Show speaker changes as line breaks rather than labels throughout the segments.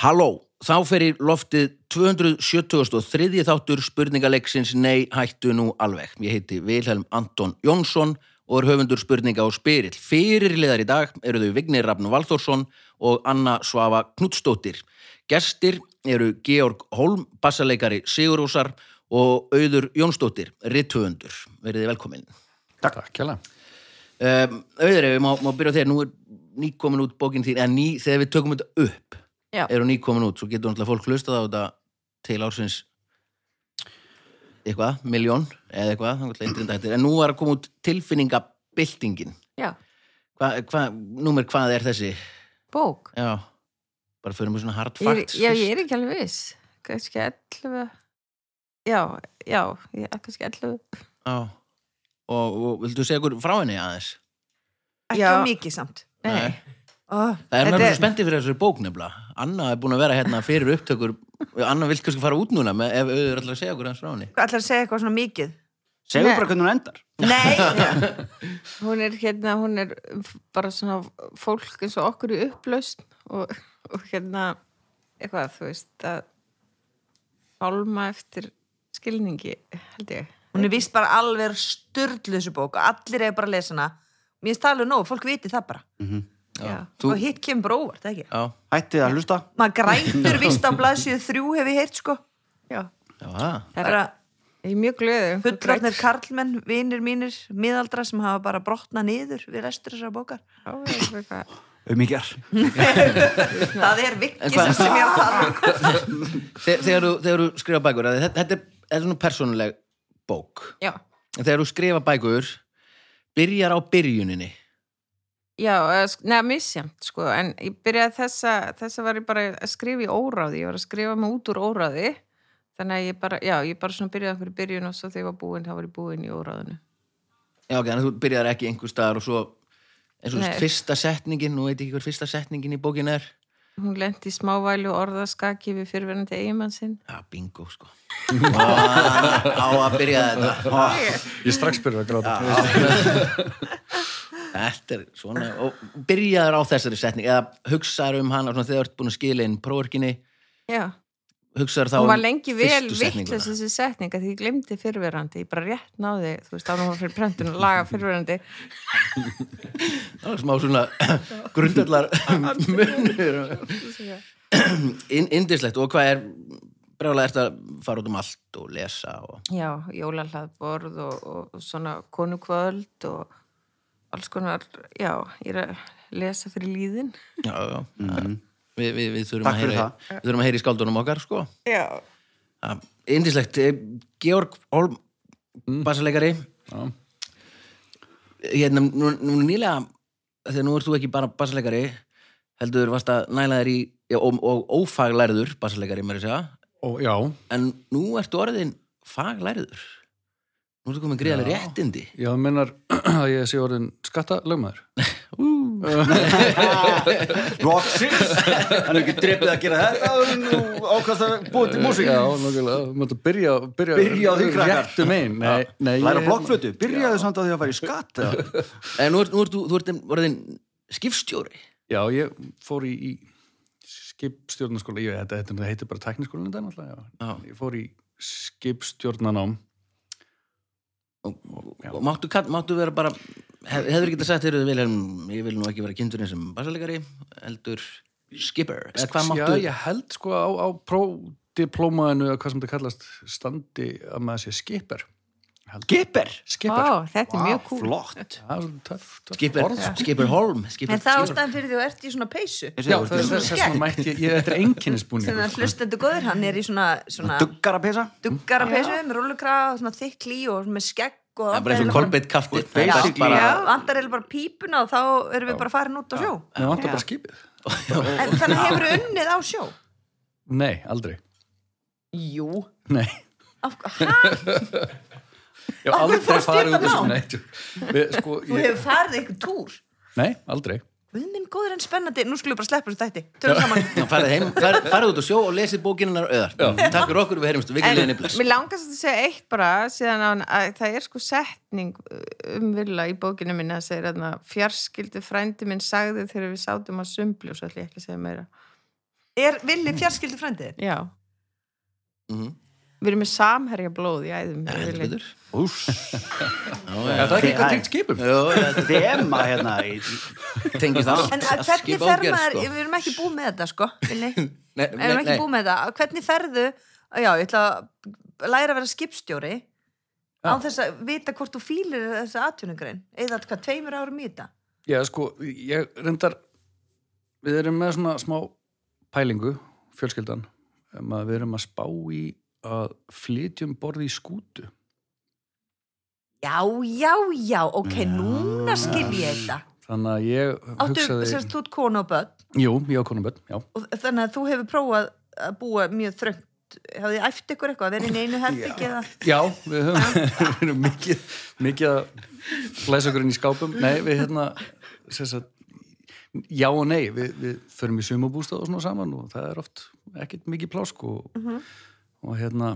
Halló, þá ferir loftið 273. þáttur spurningaleiksins Nei, hættu nú alveg. Ég heiti Vilhelm Anton Jónsson og er höfundur spurninga og spyrill. Fyrirliðar í dag eru þau Vignir Rafn Valþórsson og Anna Svava Knutstóttir. Gestir eru Georg Holm, bassaleikari Sigurúsar og Auður Jónsdóttir, rithöfundur. Verðið velkomin.
Takk. Takk hella.
Um, auður, ef við má, má byrja á þér, nú er nýkomin út bókin þín, en ný, þegar við tökum þetta upp,
Já,
er hún nýkomin út, svo getur náttúrulega fólk hlustað á þetta til ársins eitthvað, miljón eða eitthvað, þannig að eitthvað eitthvað en nú var að koma út tilfinningabildingin
já,
hva, hva, númer hvað er þessi
bók.
já, bara fyrir mig svona hard
Ég er,
facts
já,
fyrst.
ég er ekki alveg viss. Kannski 11. Já, já, ég, kannski 11.
já. Og, og vildu segja ykkur frá henni aðeins
ekki
Já.
mikið samt
Nei.
oh,
það er
þetta
nefnilega spenntið fyrir þessari bók nefnilega Anna er búin að vera hérna fyrir upptökur Anna vilt kannski fara út núna með, ef auður ætlar að segja okkur aðeins frá henni
Hvað ætlar að segja eitthvað svona mikið?
Segðu
Nei.
bara hvernig hún endar.
Nei,
Hún er hérna, hún er f- bara svona fólk eins og okkur í upplausn og, og hérna, eitthvað, þú veist, að hálma eftir skilningi, held ég.
hún er vist bara alveg styrlu þessu bók og allir er bara að lesa hana Mér finnst það alveg nóg, fólk viti það bara
Já.
Mhm. Þú-
og hitt kemur bara óvart, ekki?
já,
Hættið að hlusta.
Maður grætur vist á blaðsíðu þrjú hef ég heyrt sko
Já,
já, það
það er
bara
ég er mjög glöðu.
fullorðnir karlmenn, vinir mínir miðaldra sem hafa bara brotnað niður við restur þessar bókar
Umíkjar.
Það er
En
vikið
hvað-
sem sem ég er að tala um
Þe- þegar, þú- þegar þú skrifa bækur að þetta, þetta er, þetta er nú persónuleg bók
Já,
en þegar þú skrifa bækur byrjar á byrjuninni
já, eh, sk- neða misjæmt, sko, en ég byrjaði þessa, þessa var ég bara að skrifa í óráði, ég var að skrifa mig út úr óráði, þannig að ég bara, já, ég bara svona byrjaði okkur í byrjun og svo þegar ég var búin, þá var ég búin í óráðinu.
já ok, þannig að þú byrjar ekki einhver staðar og svo eins og þú
Nei.
veist, fyrsta setningin nú veit ég ekki hver fyrsta setningin í bókin er
Hún lendi í smávælu og orðaskaki við fyrirverandi eigimann sinn.
já, bingo sko Á, á að byrja þetta Á,
Ég strax byrjar að gráta.
þetta er svona og byrjaður á þessari setning eða hugsaður um hana svona, þegar þú ert búin að skila inn próverkinni
Já,
hugsaður þá
hún var
um
lengi vel
fyrstu
vittlis
setninguna
þessi setninga því ég glemdi fyrirverandi, ég bara rétt náði, þú veist, ánum hún var fyrir pröntun að laga fyrirverandi.
það var smá svona grundallar munur In- Indislegt og hvað er bregðulega ert að fara út um allt og lesa og
Já, jólahlaðborð og, og svona konukvöld og alls konar, já, ég er að lesa fyrir líðin.
já, já, mm. við, við, við þurfum
Takk
að
fyrir
heyra við þurfum að heyra í skáldunum okkar sko.
Já.
Ja, Indislegt, Eh, Georg Holm bassaleikari hérna, nú, nú nýlega þegar nú ert þú ekki bara bassaleikari heldur varst að næla þér í já, og, og ófaglærður bassaleikari mér að segja,
Og já,
en nú ertu orðin faglærður nú ertu komin greiðlega réttindi
já, þú meinar að ég sé orðin skattalögmaður.
Roxys. Hann er ekki dreipið að gera þetta. Nú ákvæmst að búið til músík.
Eh, Já, nákvæmlega, þú mátt að byrja, byrja,
Byrja á því, krakkar.
Réttu megin, nei, nei. ég-
Læra blokkflötu. Byrjaðu samt á því að fara í skatt. eða?
En Eh, nú ert, nú ert, þú, þú ert orðin skipstjóri.
Já, ég fór í, í skipstjórnarskóla, ég, þetta, þetta heitir bara tekniskólan þetta náttúrulega, já.
Já.
Ég fór í skipstjórnarnám. Já.
Og máttu, kall- máttu vera bara, hef, hefur getað sagt þér, Vilhelm, ég vil nú ekki vera kindurinn sem bassalegari, heldur skipper. Eða hvað máttu?
Já, ég held sko á, á pródiplómaðinu, eða hvað sem þetta kallast, standi að maður sé skipper.
Skipper.
Skipper.
Ah.
Ó, þetta er mjög
Vá,
cool.
Flott.
Það er svona töff, töff
Skipper,
orð, sko.
skipper Holm, skipper,
En það
skipper.
ástæðan fyrir því að þú ert í svona peysu
Ég segi,
Já,
þú ert
það er
í
þess að mætti ég, ég þetta er
sem
einkennisbúningur.
að hlustendu góður, hann er í svona, svona
Duggar að pesa.
duggar að peysu með rúllukraga og svona þykk lí og með skegg og
Það er bara eins og
andar
Colbett kafti.
Já, bara-
eiginlega bara, já, andar eiginlega bara pípuna og þá erum við bara farin út á sjó
Mér vantar bara skipið.
en þannig hefur við unnið á sjó
Nei, aldrei.
Jú
Nei.
Af, ha,
Ég
Af hverju
hef aldrei
fórstu
farið út
þetta
þessu
nám?
neitt. Við, sko,
þú
ég,
hefur farið einhvern túr
nei, aldrei.
Guð minn góður en spennandi, nú skulum við bara sleppa þessu þætti Tölum saman,
Farðið heim, farið, farið út og sjó og lesið bókininnar öðar. Takk fyrir okkur, við heyrumst, við
En
gæliðinni bless.
mér langast að segja eitt bara síðan á hann að það er sko setning umvilla í bókinu minna að segja þarna fjarskildu frændi minn sagði þegar við sátum að sumbli og svo ætlum ég ekki að segja meira
Er villi fjarskildu frændið?
Já.
Mhm.
Við erum með samherja blóð í æðum.
Já, heldur betur.
Úss,
Er það ekki eitthvað
Æ.
tengt skipum?
Jó, þetta
þema hérna í,
tengi það.
En að hvernig
Skip
fer
ágerð,
maður,
sko.
við erum ekki búið með þetta sko, Villi, við
Nei,
erum
nei,
ekki
nei.
búið með þetta, hvernig ferðu, já, ég ætla að læra að vera skipstjóri á þess að vita hvort þú fýlir þessa atvinnugrein, eða hvað, tveimur árum í þetta?
Já, sko, ég reyndar, við erum með svona smá pælingu, fjölskyldan, um að við erum að spá í að flytjum borði í skútu.
Já, já, já, ok, núna skil ég þetta.
Þannig að ég
Áttu,
hugsaði...
sérst, þú ert konu og börn
Jú, ég á konum börn, já.
og þannig að þú hefur prófað að búa mjög þröngt, hafið þið æft ykkur eitthvað, að vera inn í einu herbyggi eða...
Já, við höfum við erum mikið, mikið að læsa okkur inn í skápum. Nei, við hérna, sérst að, já og nei, við, við förum í sumabústað og svona saman og það er oft ekkert mikið plásk og,
Mhm.
og hérna,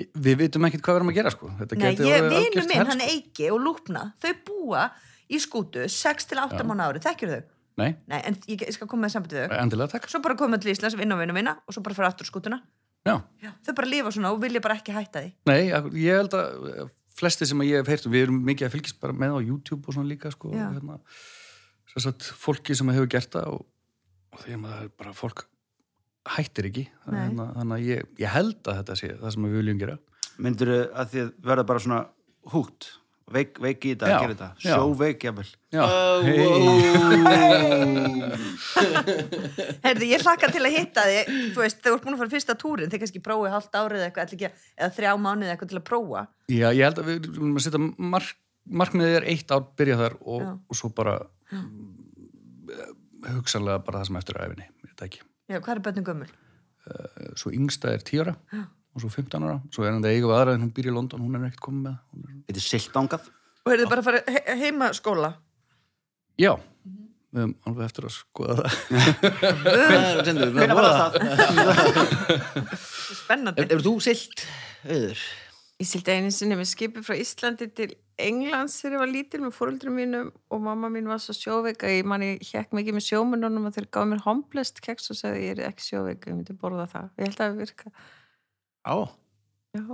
ég- við vitum ekkert hvað við erum að gera, sko. Þetta
Nei, ég,
gæti orðið
vinur
algjört
minn,
helst-
hann Eiki og Lúpna, þau búa í skútu 6-8 mánu ári, þekkjur þau?
Nei,
Nei, en ég, ég skal koma með sambandi við þau.
endilega takk.
Svo bara koma til Íslands, vinna og vinna og vinna og svo bara fyrir aftur á skútuna.
Já.
Já. Þau bara lifa svona og vilja bara ekki hætta því.
Nei, ak- ég held að eh, flesti sem að ég hef heyrt og við erum mikið að fylgjast bara með á YouTube og svona líka sko, og
Já.
hérna, sem sagt, fólki sem hefur gert það og, og því að maður er bara fólk hættir ekki þannig,
Nei.
hérna, þannig að ég, ég held að þetta sé það sem við viljum gera
myndur að þið verða bara svona húgt, veik, veik í þetta
Já,
að gera þetta,
já.
sjóveik jafnvel.
Já,
Oh,
hey.
Herði, ég hlakka til að hitta því, þú veist, þau voru búin að fara fyrsta túrin, þau kannski prófið halvt árið eða eitthvað, ætli ekki að- eða þrjá mánuði eitthvað til að prófa.
Já, ég held að við erum að setja mark, markmiðið er eitt ár byrja þar og,
Já.
og svo bara eh, hugsanlega bara það sem eftir er æfinni, þetta ekki Eh,
Já, hvað er börnum gömul?
svo yngsta er 10 ára og svo 15 ára, svo er hann það eiga við aðra en hún býr í London, hún er ekkert komið með hún er...
Þetta er siltangað.
Og er þið bara að fara he heima skóla?
Já, við höfum alveg eftir að skoða það
Hvernig
Hvernig var það?
Spennandi.
Hefur þú silt, auður?
Ég sildi einu sinni með skipi frá Íslandi til Englands þegar ég var lítil með fóröldrum mínum og mamma mín var svo sjóveik að ég manni hjekk mikið með sjómununum og þeir gáði mér homblest keks og segði ég er ekki sjóveik, ég myndi borða það. Ég held að það virka.
Já
Já.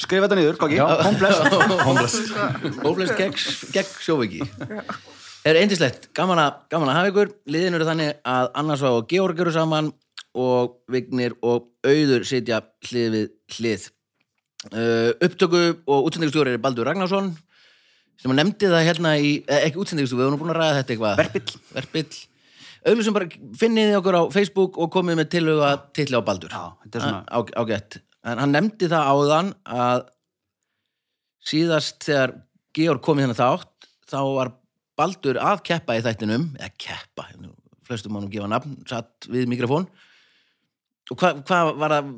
Skrifa þetta niður, Kóki.
Já.
Kompless.
Homblest
Hóflest gegn, gegn sjóveiki Það er eindislegt, gaman að, gaman að hafa ykkur Liðin eru þannig að annars og Georg eru saman og Vignir og Auður sitja hlið við hlið uh, Upptöku og útsendingustjóri er Baldur Ragnarsson sem að nefndi það hérna í eh, ekki útsendingustjóri, við erum búin að ræða þetta eitthvað
Verpill.
Verpill Auðlýsum bara finniði okkur á Facebook og komið með tilhuga titli á Baldur
Já, þetta er svona-
Á- Ágætt En hann nefndi það áðan að síðast þegar Georg kom í þennan þátt þá var Baldur að keppa í þættinum eða keppa, nú, flestum mannum gefa nafn satt við mikrofón og hvað hva var það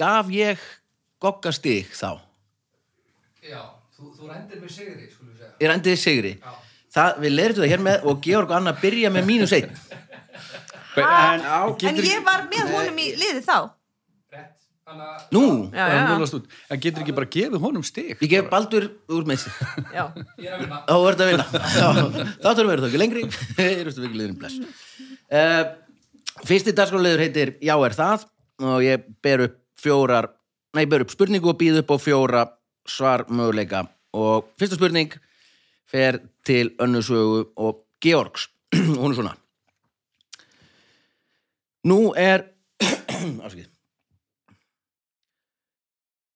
gaf ég gogga stig þá?
Já, þú, þú rendir með sigri, skulum við segja.
Ég rendiði sigri það, Við leirtum það hér með og Georg og Anna byrja með mínus einn
En,
En ég var með honum í liði þá.
Rett. Þannig að
Nú,
Já, já, já.
En getur ekki bara gefið honum stig
ég gef Baldur úr með sig
já.
ég er að vinna.
Þá verður að vinna Já, Þátturum verður það ekki lengri Erustu ekki liðurinn bless uh, Fyrsti dagskóliður heitir Já er það og ég ber upp fjórar Nei, ég ber upp spurningu og býð upp á fjóra svar möguleika og fyrsta spurning fer til önnusögu og Georgs hún er svona Nú er afsakið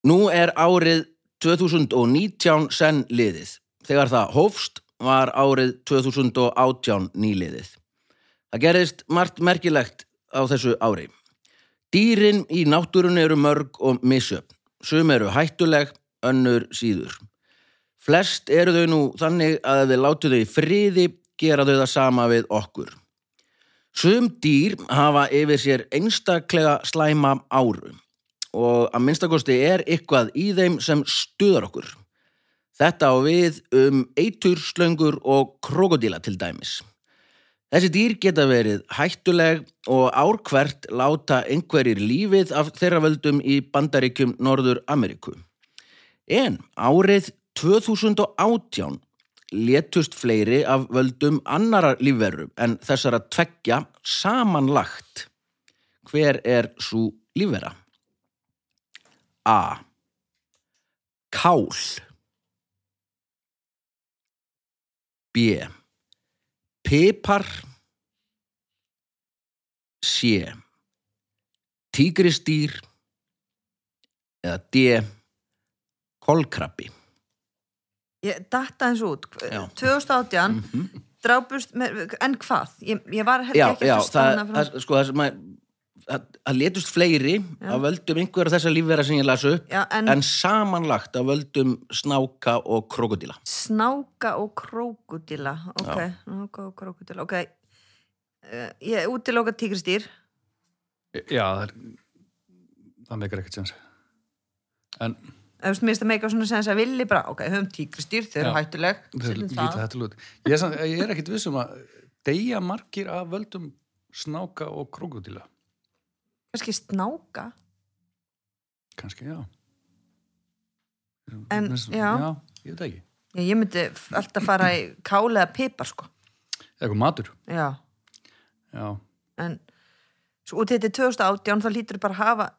Nú er árið 2019 senn liðið. Þegar það hófst var árið 2018 nýliðið. Það gerðist margt merkilegt á þessu ári. Dýrin í náttúrunni eru mörg og misjöfn. Sum eru hættuleg, önnur síður. Flest eru þau nú þannig að ef við látu þau í friði gera þau það sama við okkur. Sum dýr hafa yfir sér einstaklega slæma árum og að minnstakosti er eitthvað í þeim sem stuðar okkur. Þetta á við um eitur, slöngur og krokodíla til dæmis. Þessi dýr geta verið hættuleg og árkvert láta einhverjir lífið af þeirra völdum í bandaríkjum Norður Ameríku. En árið 2018 létust fleiri af völdum annara lífveru en þessara tveggja samanlagt. Hver er svo lífvera? A. Kál B. Pipar C. Tígristýr eða D. Kolkrabbi
Ég datta eins út
Já. Mhm.
2018 drápust með, en hvað? Ég, ég var held ég
já,
ekki
já,
að
það,
stanna frá
það, sko, það, sem að- það, það letust fleiri af völdum einhverja þessa lífvera sem ég las upp
Já, en-
samanlagt af völdum snáka og krokodila
snáka og krókudila ok, snáka og krókudila ok, Eh, ég útiloka tígristýr
Já, það, er- það meikar ekkert sens. En
ef þú minnst að meika svona sens að villi bara, ok, höfum tígristýr, þau eru
Já.
hættuleg
það er
setjum
lítið
það.
hættulegt. Ég, er samt- ég er ekkert vissum að deyja margir af völdum snáka og krókudila.
kannski snáka
Kanski, já.
En,
Mér finnst-
já.
Já, ég veit það ekki.
já, ég myndi f- alltaf fara í kála eða pipar sko
Eitthvað matur,
já,
já.
en svo út í þetta er 2018 þá lítur bara að hafa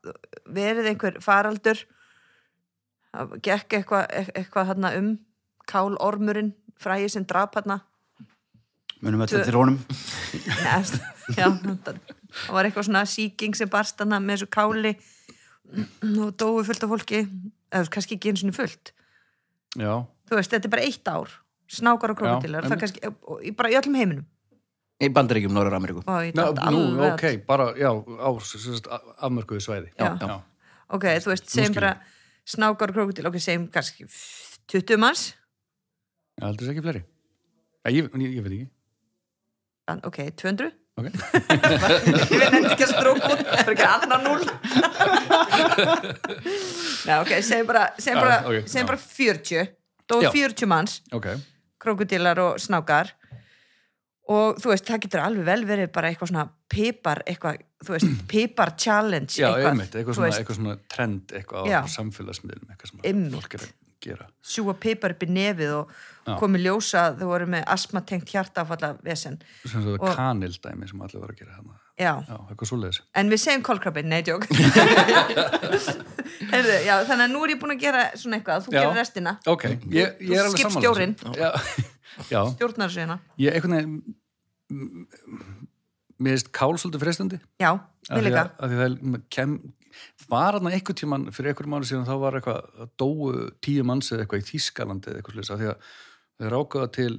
verið einhver faraldur það gekk eitthvað eitthvað þarna um kálormurinn fræði sem drap hérna
Munum öll
Tvö-
eftir honum
Neðst, já, það það var eitthvað svona sýking sem barst hana með þessu káli og dói fullt af fólki eða kannski ekki eins og fullt
Já,
þú veist, þetta er bara eitt ár snákar og krokodilar,
Já,
það
einmitt.
kannski og, í- bara í öllum heiminum
í bandaríkjum Norður Ameríku
Ó, ég
Ná,
datt
nú,
alveg að-
ok, bara, já, á sem sagt, a- afmörkuðu svæði.
Já. ok, þú veist, segjum
skil ég.
bara snákar og krokodil, ok, segjum kannski 20 manns,
Já, heldur þess ekki fleiri? Já, ég, ég, ég veit ekki.
An- ok, 200
Ok.
ég veit nefndi ekki að stróka út það er ekki annar núl Já, ok, segjum bara segjum
Já,
bara,
ok, já.
segjum bara 40 dó
Já.
40 manns
Ok,
krokodilar og snákar og þú veist, það getur alveg vel verið bara eitthvað svona pipar eitthvað, þú veist, pipar challenge
já, einmitt, eitthvað
þú
svona,
veist,
eitthvað svona trend eitthvað
Já.
á samfélagsmiðlum, eitthvað sem
Einmitt.
fólk er að gera.
sjúga pipar upp í nefið og
Já.
komið ljósa að þú voru með astmatengt hjartafalla vesen
Sem svo
Og-
það kanildæmi sem allir var að gera þarna.
já,
Já, eitthvað svoleiðis.
en við segjum kolkrabbi, nei, djók Heyrðu, já, þannig að nú er ég búin að gera svona eitthvað, þú
Já.
gerir restina
Ok, ég, ég er alveg
Þú
sammála
skipstjórinn.
þessu. Já, já,
stjórnar þessu hérna,
ég einhvern veginn, m- m- mér finnst kál svolítið frestandi.
já,
Af
mér
því
líka
að- af því það er- kem, var hann einhver tíman fyrir einhverjum ári síðan þá var eitthvað að dóu tíu manns eða eitthvað í Þískalandi eða eitthvað slisa því að þeir rákaða til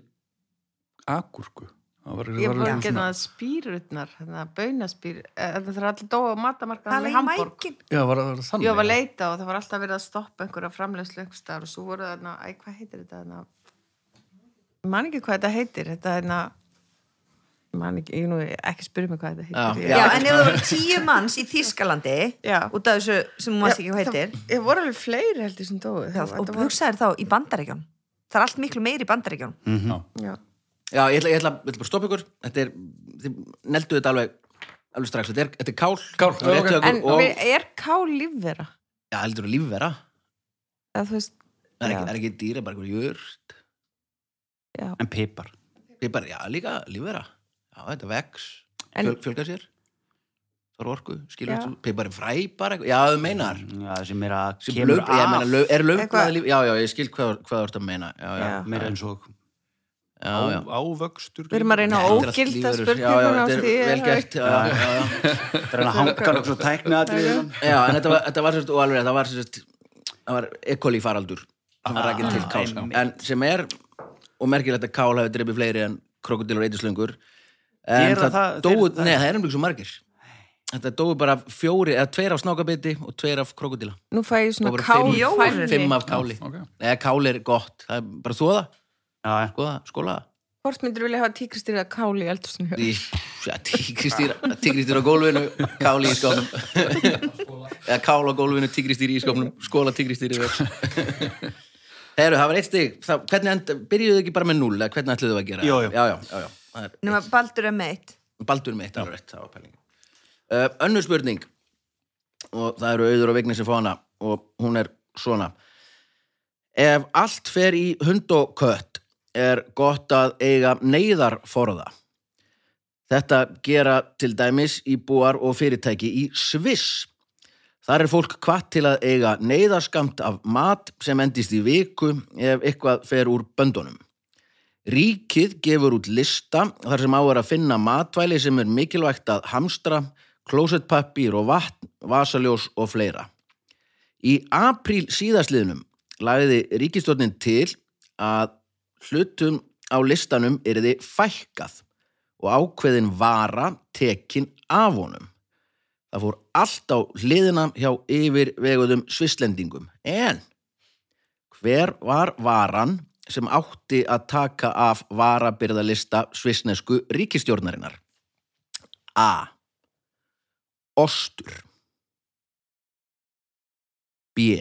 agurku það var,
Ég
var
var
eitthvað
ekki hérna,
svona,
að spýrutnar, þannig að baunaspýr, það er allir dóa á matamarkaðan
tala
í
í
Hamburg.
mækin
já, var, var þannig
Ég var að leita og það var alltaf verið að stoppa einhverja framleiðslu einhvers staðar og svo voru þarna, æ, hvað heitir þetta þarna? Ég man ekki hvað þetta heitir, þetta er þarna, ég man ekki, ég nú ekki spyrja mig hvað þetta heitir.
Já,
Ég-
já, en ef það voru tíu manns í Þískalandi
Já.
út af þessu sem hún varst ekki hvað heitir
Það- Ég voru alveg fleiri heldur sem dóið.
já, og hugsaðir þá í Bandaríkjón það er allt miklu meiri í Bandaríkjón
Mhm.
Já,
já, ég ætla, ég ætla, ég ætla bara að stoppa ykkur þetta er, þið neldu þetta alveg alveg strax, þetta er, þetta er kál,
Kál,
og,
já,
okay.
ok.
en
og
við- er ká lífvera?
já, heldur að lífvera
Eða þú veist,
það er ekki,
Já.
það er ekki dýra, bara einhver jörd
já.
En pipar
ég bara, já, líka lífvera já, þetta vex,
En-
Fjöl, fjölga sér það er orku, skilur
Já.
þú pipar er fræ bara, eitthvað. já, þú meinar
Já, sem er að
sem
kemur
lög,
af
ég meina, lög, er
Eitthvað-
lögblaði líf já, já, ég skil hvað, hvað þú ert að meina já, já,
Já.
Meira eins og
já, já.
ávöxtur
Við erum að reyna
Þetta
að
er allt
ógilda
lífverur. já,
spurninguna
já,
á
þetta
því.
er vel gert já, já, já,
Það er hann að hanga nokkuð svona tækna atriðið.
já, en þetta var, þetta var sérst, og alveg, þetta var sérst það var ekoli faraldur sem
Ah,
var rækinn til kás en sem er, og merkilegt að kál hafi dreipið fleiri en krokodil og reytislöngur en
Gera
það,
það-
dóu,
þeir- það-
nei, það er nefnilega svo margir þetta dóu bara fjóri, eða tveir af snákabiti og tveir af krokodila
Nú fæ ég
og
svona
bara fimm,
kálfælni.
fimm af káli
Já, ok.
eða kál er gott, það er bara þóða
Já, já.
skoða, skóla það
Hvort myndir vilja hafa tíkristýrið að káli í eldursunni?
Í- ja, tígristýr tígristýr á gólfinu, káli í skófnum eða kál á gólfinu tígristýr í skófnum, skóla tígristýr yfir öll. Heru, það var eitt stig það, hvernig enda, byrjuðu þið ekki bara með null eða hvernig ætluðu þið að gera
Jó, jó.
Já, já, já, já. Það er-
nema Baldur er meitt
Baldur með eitt alveg rétt, það var pæling uh, Önnur spurning og það eru auður og vigni sem fá hana og hún er svona Ef allt fer í hund og kött er gott að eiga neyðarforða. Þetta gera til dæmis í búar og fyrirtæki í Sviss. Þar er fólk hvatt til að eiga neyðarskamt af mat sem endist í viku ef eitthvað fer úr böndunum. Ríkið gefur út lista þar sem á er að finna matvæli sem er mikilvægt að hamstra, klósettpappír og vatn, vasaljós og fleira. Í apríl síðasliðnum lagði ríkistjórnin til að hlutum á listanum yrði fækkað og ákveðin vara tekin af honum. Það fór allt á hliðina hjá yfirveguðum svislendingum. En hver var varan sem átti að taka af varabyrðalista svissnesku ríkistjórnarinnar? A. Ostur B.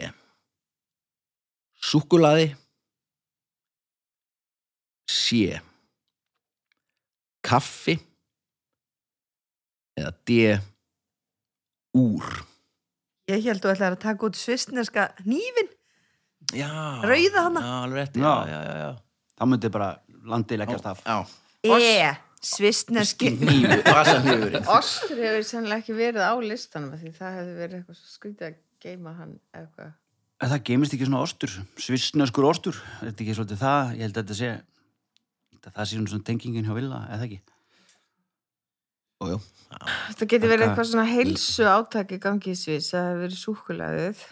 Súkulaði C. Kaffi eða D. Úr
Ég held þú ætlaði að taka út svistneska hnífin
Já,
Rauða hana.
Já, alveg rétt, já,
Já.
já, já, já.
þá myndi bara landið leggjast af
Já,
E, svistneski
nýfur, vasahnífurinn
Ostur hefur sennilega ekki verið á listanum af því það hefði verið eitthvað svo skrítið að geima hann eða eitthvað.
En það gemist ekki svona ostur, svissneskur ostur, er þetta ekki svolítið það, ég held að þetta sé, ég held að það sé nú svona tengingin hjá Villa, eða ekki?
Jú, jú.
Það geti verið
Eitthvað-
eitthvað svona heilsu átak í gangi í Svís að það hefur verið súkulaðið.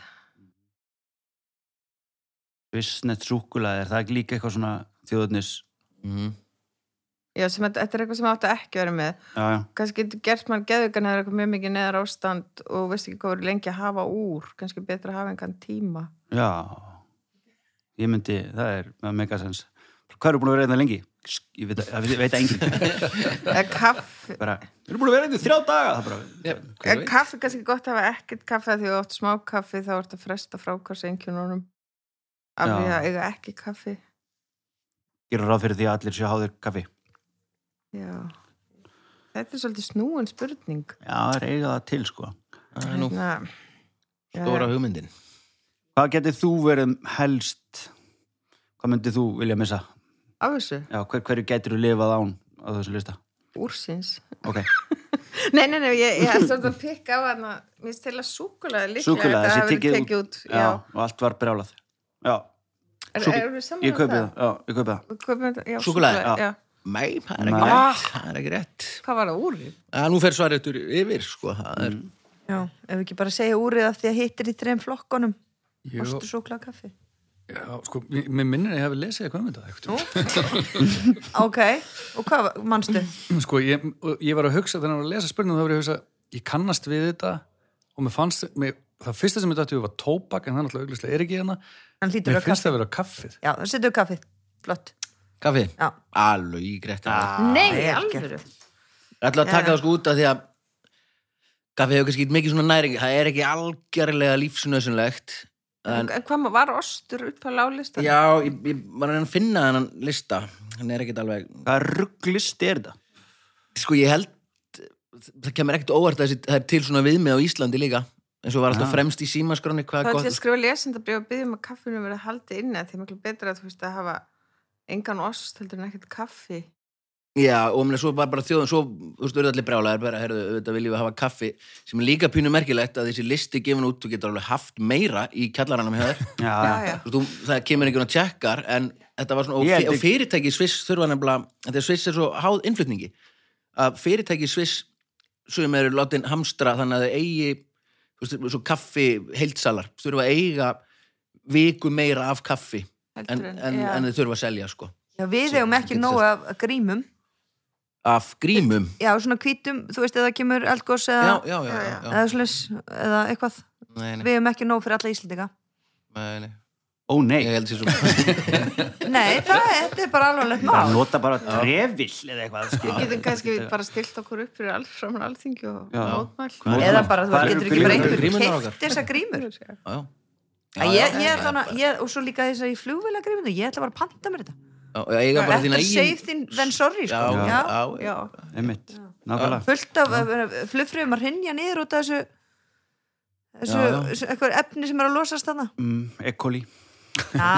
Svissnett súkulaði, er það ekki líka eitthvað svona þjóðunis,
Mhm.
Já, sem að þetta er eitthvað sem áttu ekki að vera með.
já, já,
Kannski getur gert mann geðvikan eða eitthvað mjög mikið neðar ástand og veist ekki hvað verið lengi að hafa úr. Kannski betra að hafa engan tíma.
já, ég myndi, það er með megasens. Hvað eru búin að vera einnig lengi? Sk- Ég veit, að- ég veit að enginn,
Eða kaffi,
bara, eru búin að vera einnig þrjá daga, það bara,
eða kaffi kannski gott að hafa ekkert kaffi af því að þú átt smá kaffi þá ertu að fresta frákvæmsengjónunum. Af
Já.
því að eiga ekki kaffi.
ég er ráð fyrir því að allir séu háðir kaffi.
Já. Þetta er svolítið snúin spurning.
Já, það er eiga það til, sko.
Það er nú
Hérna,
stóra
já,
hugmyndin
Hvað getið þú verið helst, hvað myndið þú vilja missa?
Af þessu,
Já, hver, hverju getur þú lifað án á þessu lista?
úrsins.
Ok,
Nei, nei, nei, ég, ég er svolítið að pikka á hana. Mér finnst til að súkulaði líklega.
Súkkulaði,
þetta
þessi
hafi verið
tekið
tekið út.
já, og allt var brjálað. Já,
Er,
súkkul-
er, er
ég kaupið það, já, ég kaupið það.
Við kaupum þetta, já.
Súkkulaði,
súkkulaði, já.
Nei, það er ekki
Nei.
rétt Það er ekki rétt
Hvað var það úr?
að Nú fer svarið yfir- yfir, sko Það er
Já, ef við ekki bara segja úrið af því að hittir í þreim flokkonum
Jú.
Ostu, súkla, kaffi
Já, sko, mér mér minnir að ég hefði lesið eitthvað um þetta eitthvað.
Ok, og hvað manstu?
Sko, ég, og ég var að hugsa þegar ég var að lesa spurningum, þá var ég að hugsa, ég kannast við þetta og mér fannst, mér, það fyrsta sem ég dætti var tóbak, en það náttúrulega auglislega er ekki hérna.
Hann hlýtur
Mér
að
finnst
kaffi
það að vera kaffið.
Já, það setur kaffi, flott
Kaffi
Já.
Alveg rétt Það
Nei,
það er
alvöru.
er alltaf að taka það sko út af því að Kaffi hefur kannski mikið svona næring Það er ekki algjörlega lífsnöðsynlegt En
En hvað ma- var ostur upp á lálista?
já, ég, ég var að reyna að finna þennan lista Hann er ekkit alveg
Hvað rugglist er þetta?
Sko, ég held Það kemur ekkit óvart að þessi- það er til svona viðmið á Íslandi líka eins og var alltaf fremst í símaskránni hvað er
Það er Ah. til
gott
að skrifa lesendabrið og byggjum að kaffinu verið haldið inni því er miklu betra að þú veist að hafa engan ost heldur en ekkert kaffi.
Já, og mér svo var bara þjóðum, svo, þú veist, verður allir brjálæðar bara, herðu, auðvitað viljum við hafa kaffi sem er líka pínu merkilegt að þessi listi gefin út, þú getur alveg haft meira í kjallaranum hjá þér,
Já,
Já, já.
Þú veist, þú- það kemur einhvern og tjekkar, en þetta var svona, og, fyr,
Ég held
og fyrirtæki í Sviss þurfa nefnilega, þetta er Sviss er svo háð innflutningi, að fyrirtæki í Sviss sem eru látin hamstra þannig að þau eigi, þú veist, svo kaffi heildsalar, þurfa að eiga viku meira af kaffi en,
Heldur
en,
en-
en,
já.
þau þurfa að selja, sko,
Já, við
Svo-
eigum ekki
getur
nógu af grímum
af grímum.
Já, svona hvítum, þú veist, eða kemur eldgós eða,
Já, já, já, já, já.
eða, slis, eða eitthvað
Nei, nei.
Við eigum ekki nógu fyrir alla Íslendinga
Nei, nei.
Ó
Ég
nei,
held sér svo
Nei, það, þetta er bara alvarlegt
það
mál
nota bara trefill eða eitthvað.
Við getum kannski bara stilt okkur upp fyrir alls framar alþingi og
Já.
mótmæl.
Eða bara, þú
Hvar
veist, getur
eru
ekki bara
grímurnar?
einhver
Grímurnar
keift
okkar?
þessa grímur
Já, já.
Já, ég, ég er þannig, ég, og svo líka þess að ég flugvila gríminu, ég ætla bara að panta mér þetta.
Já, já, eiga bara
Better
þína eigin
safe than, than sorry, sko.
Já,
Já,
já, já.
Já,
Einmitt, nákvæmlega.
Fullt af uh, flugfröfum að hrynja niður út af þessu, þessu,
Já, já.
þessu eitthvað efni sem er að losast þarna.
Mm, Ekkoli.
Ja,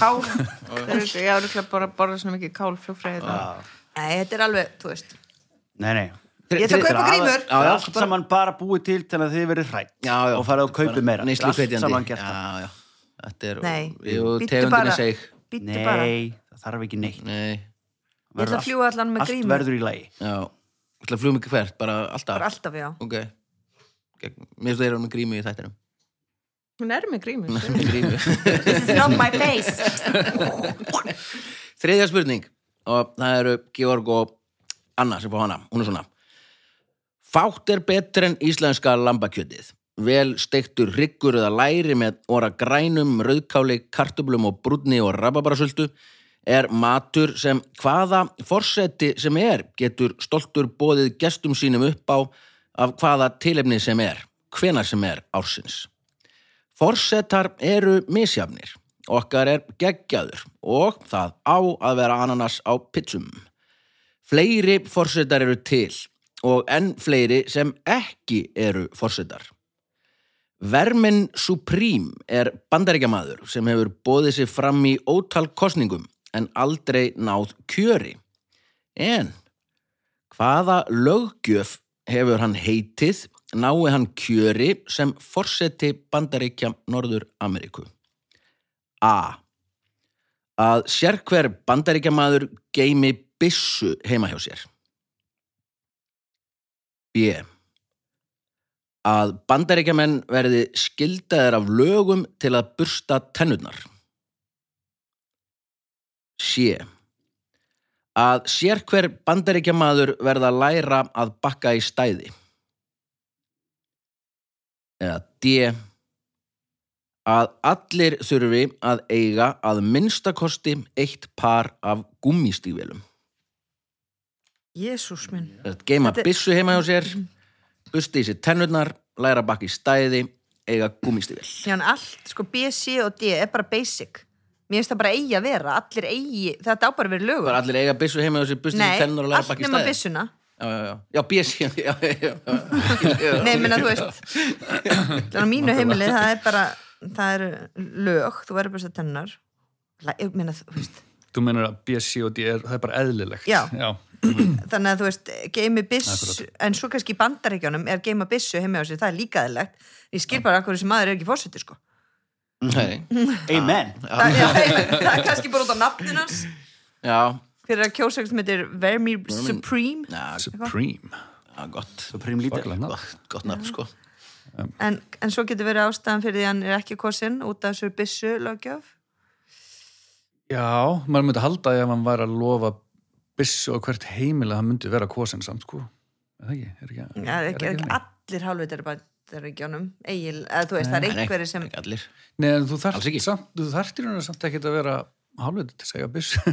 kál.
Það er ekki, ég árygglega bara að borða svona mikið kál frá fræðið
Nei, þetta er alveg, þú veist.
Nei, nei.
Ég ætla að kaupa grímur.
Já, já, allt saman bara búið til til að þið verið hrætt
já, já.
og farið og kaupið meira.
neyslu
Allt saman gert það.
já, já. þetta er
Nei,
jú,
bíddu
tegundinni
bara.
seg
Býttu bara.
Nei, það þarf ekki neitt.
nei,
Ég ætla að fljúga allan með
Allt
grímur.
verður í lagi.
já Ég ætla að flugum ekki hvert, bara alltaf
Bara alltaf, já.
ok Gegn- mér finnst þeir eru með grímu í þættinum
Hún er með grímur sko.
Með grímu.
This is not my face.
þriðja spurning og það eru Georg og Anna sem fá hana, hún er svona Fátt er betur en íslenska lambakjötið vel steiktur hryggur eða læri með óra grænum, rauðkáli, kartublum og brúnni og rababarasöldu er matur sem hvaða forseti sem er getur stoltur bóðið gestum sínum upp á af hvaða tilefni sem er, hvenar sem er ársins. Forsetar eru misjafnir. Okkar er geggjaður og það á að vera ananas á pitsum. Fleiri forsetar eru til og enn fleiri sem ekki eru forsetar. Vermin Supreme er bandaríkjamaður sem hefur bóðið sér fram í ótal kosningum en aldrei náð kjöri. En hvaða löggjöf hefur hann heitið nái hann kjöri sem forseti bandaríkja Norður Ameríku? A. Að sérhver bandaríkjamaður geimi byssu heima hjá sér. B. Að bandaríkjamenn verði skildaðir af lögum til að bursta tennurnar. C að sérhver bandaríkjamaður verða að læra að bakka í stæði eða D að allir þurfi að eiga að minnstakosti eitt par af gummistígvélum
Jésús minn.
að geima
Þetta Mhm. er-
byssu heima hjá sér busti í sér tennurnar, læra að bakka í stæði eiga gummistígvél
Já, en allt, sko, B, C og D er bara basic. Mér finnst það bara eigi að vera. Allir eigi, þetta á bara að vera lögum.
bara allir eiga byssu heima hjá sér, busti í
Nei,
sér tennurnar og læra að
allt
bakka í
nema
stæði
byssuna.
já, já, já, já, bjössi já, já, já, já, já.
Nei, minna, þú veist Það er á mínu heimili, það er bara það eru lög, þú verður bara að tennar Ég minna, þú veist
Þú meinar að BSC og DR, það er bara eðlilegt.
Já.
Já,
þannig að þú veist, geimi byssu en svo kannski í bandaríkjónum er geima byssu heima á sér, það er líkaðilegt ég skil bara akkur þessi maður er ekki fórseti sko
Nei,
Amen.
Þa, já, það er kannski bara út á nafnin hans
já,
fyrir að kjósa sem heitir Vermi Supreme
já,
Supreme.
já, gott
Supreme Leader.
Svakalega nafn.
gott, gott nafn sko
en, en svo getur verið ástæðan fyrir því að hann er ekki kosin út af þessu byssu lögjöf
Já, maður myndi halda ef hann var að lofa byssu á hvert heimil að hann myndi vera kosin samt, sko. Er Mm, það ekki? Er ekki,
Já, það er ekki, er ekki
þannig?
allir hálfvitar bandaríkjónum eigin, eða þú veist, það er
Nei,
einhverjir sem
ekki allir
Nei, en þú
Alls
þarft
ekki.
samt, þú þarft í rauninu samt ekki að vera hálfveit til að segja byssu.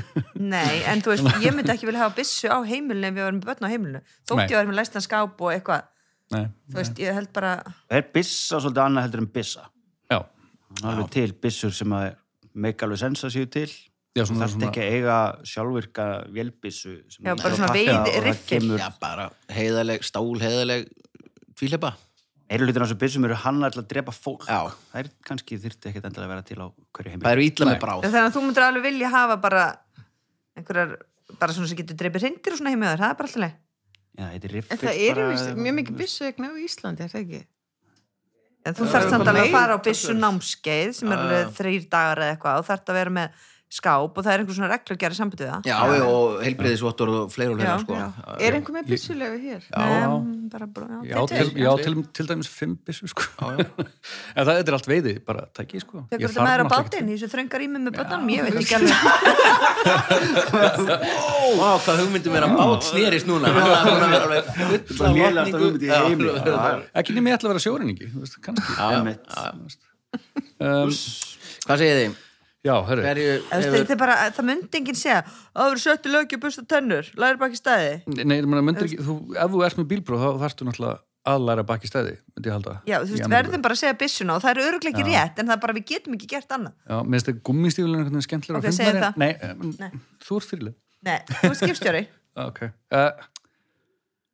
Nei, en þú veist, ég myndi ekki vilja hafa byssu á heimilinu ef ég var með börn á heimilinu
Nei.
þótt ég var með læstan skáp og eitthvað
Nei,
þú veist, ég held bara
Það er byssa svolítið annað heldur en byssa.
já.
Það er alveg til byssur sem að make alveg sensa séu til.
Já,
Þú
svona,
þarft
svona,
ekki að eiga sjálfvirka vélbyssu. sem þú
Já, bara
þarft
svona
að pakka
veiði-
og það
riffil.
kemur-
Já, bara heiðaleg, stál heiðaleg tvílepa.
Meiri hlutin af þessu byssum eru hann alltaf að drepa fólk.
Já.
Það er kannski þyrfti ekkert endilega að vera til á hverju heimil.
Það eru ítla með bráð.
þannig að þú myndir alveg vilja hafa bara einhverjar, bara svona sem getur dreipið hrindir og svona heimilinu, það er bara alltaf leið
Já, þetta er
En
riffið
það er bara... mjög mikið byssu á Íslandi, er það ekki?
En þú þarft samt
bara
alveg að
meira
fara á byssu námskeið sem er alveg þrýr dagar eða eitthvað og þarft að vera með skáp og það er einhver svona reglur gerði sambandi við það
Já, já, og heilbreyðisvottur og fleira og fleira,
Já,
sko.
já.
Já,
Er einhver með byssulegu hér?
Nei, bara, bara,
já, til, já til, til dæmis fimm byssu, sko. en það þetta er allt veiði, bara tæki, sko. Ég
Tekur þetta
þarf
með þér á
náttúrulega ekki-
bátinn í þessu þröngar ími með bötnum, ég veit ekki alveg
Vá, hvað hugmyndum er að bát snerist núna. Það er búin að vera alveg fulla
Bara lélegasta
lotningu.
hugmynd í
Já,
heimi.
alveg verið það.
Ekki nema ég ætla að vera sjórinningi, þú veist, kannski.
Einmitt.
Um,
Hvað segir þið?
já, hörru.
Hverju
Eða,
hefur...
það, bara, það myndi enginn segja Það verður söttu lögju busta tennur, læri bara ekki stæði
Nei, ég meina, myndir ekki, þú, ef þú ert með bílpróf þá þarfst þú náttúrulega að læra baki stæði myndi ég halda.
Já, þú
Í
veist,
Ameríku.
verðum bara að segja byssuna og það er öruglega ekki rétt en það er bara við getum ekki gert annað
Já, minnst það gummistíflun einhvern veginn skemmtilega
Ok, segðu það.
Nei, um,
Nei.
þú ert fyrirlið Eh,
Nei, þú er skipstjóri
Ok uh,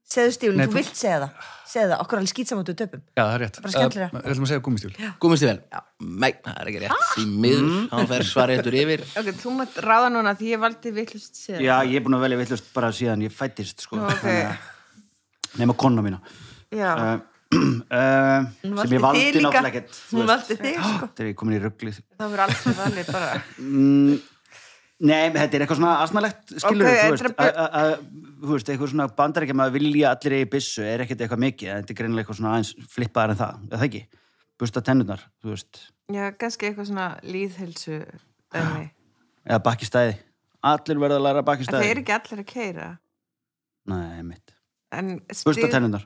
Segðu Stíflin,
Nei,
þú
þú-
vilt segja það Segðu það, okkur er alveg skýtsamöndu töpum
Já, það er rétt.
Bara skemmtilegra.
Uh, ætlum að segja gummistjúl.
Gúmist þið vel? Nei, það er ekki rétt því miður, hann fer svaretur yfir
Ok, þú mátt ráða núna því ég valdi villust síðan.
Já, ég er búin að velja villust bara síðan ég fættist, sko.
Ok.
Þannig að- Nema konna mína.
Já.
Uh, uh,
Hún
sem ég
valdi
valdi
þig líka.
náttúrulega ekkert. þú
Hún
veist.
valdi þig, sko
Þegar ég er komin í rugglið.
Það verður alltaf þannig bara.
Mm, Nei, þetta er eitthvað svona asnalegt, skilur
Ok,
þú veist,
þetta er að-
að- að- að- þú veist, eitthvað svona bandarækja maður vilja allir eigi byssu, er ekkert eitthvað mikið, en þetta er greinilega eitthvað svona aðeins flippaðar en það, er það ekki? Busta tennurnar, þú veist,
Já, kannski eitthvað svona líðhilsu dæmi.
eða bakkistæði, allir verða að læra
En Það er
bakkistæði.
ekki allir að keira.
Nei, mitt.
En
Busta
stig-
tennurnar.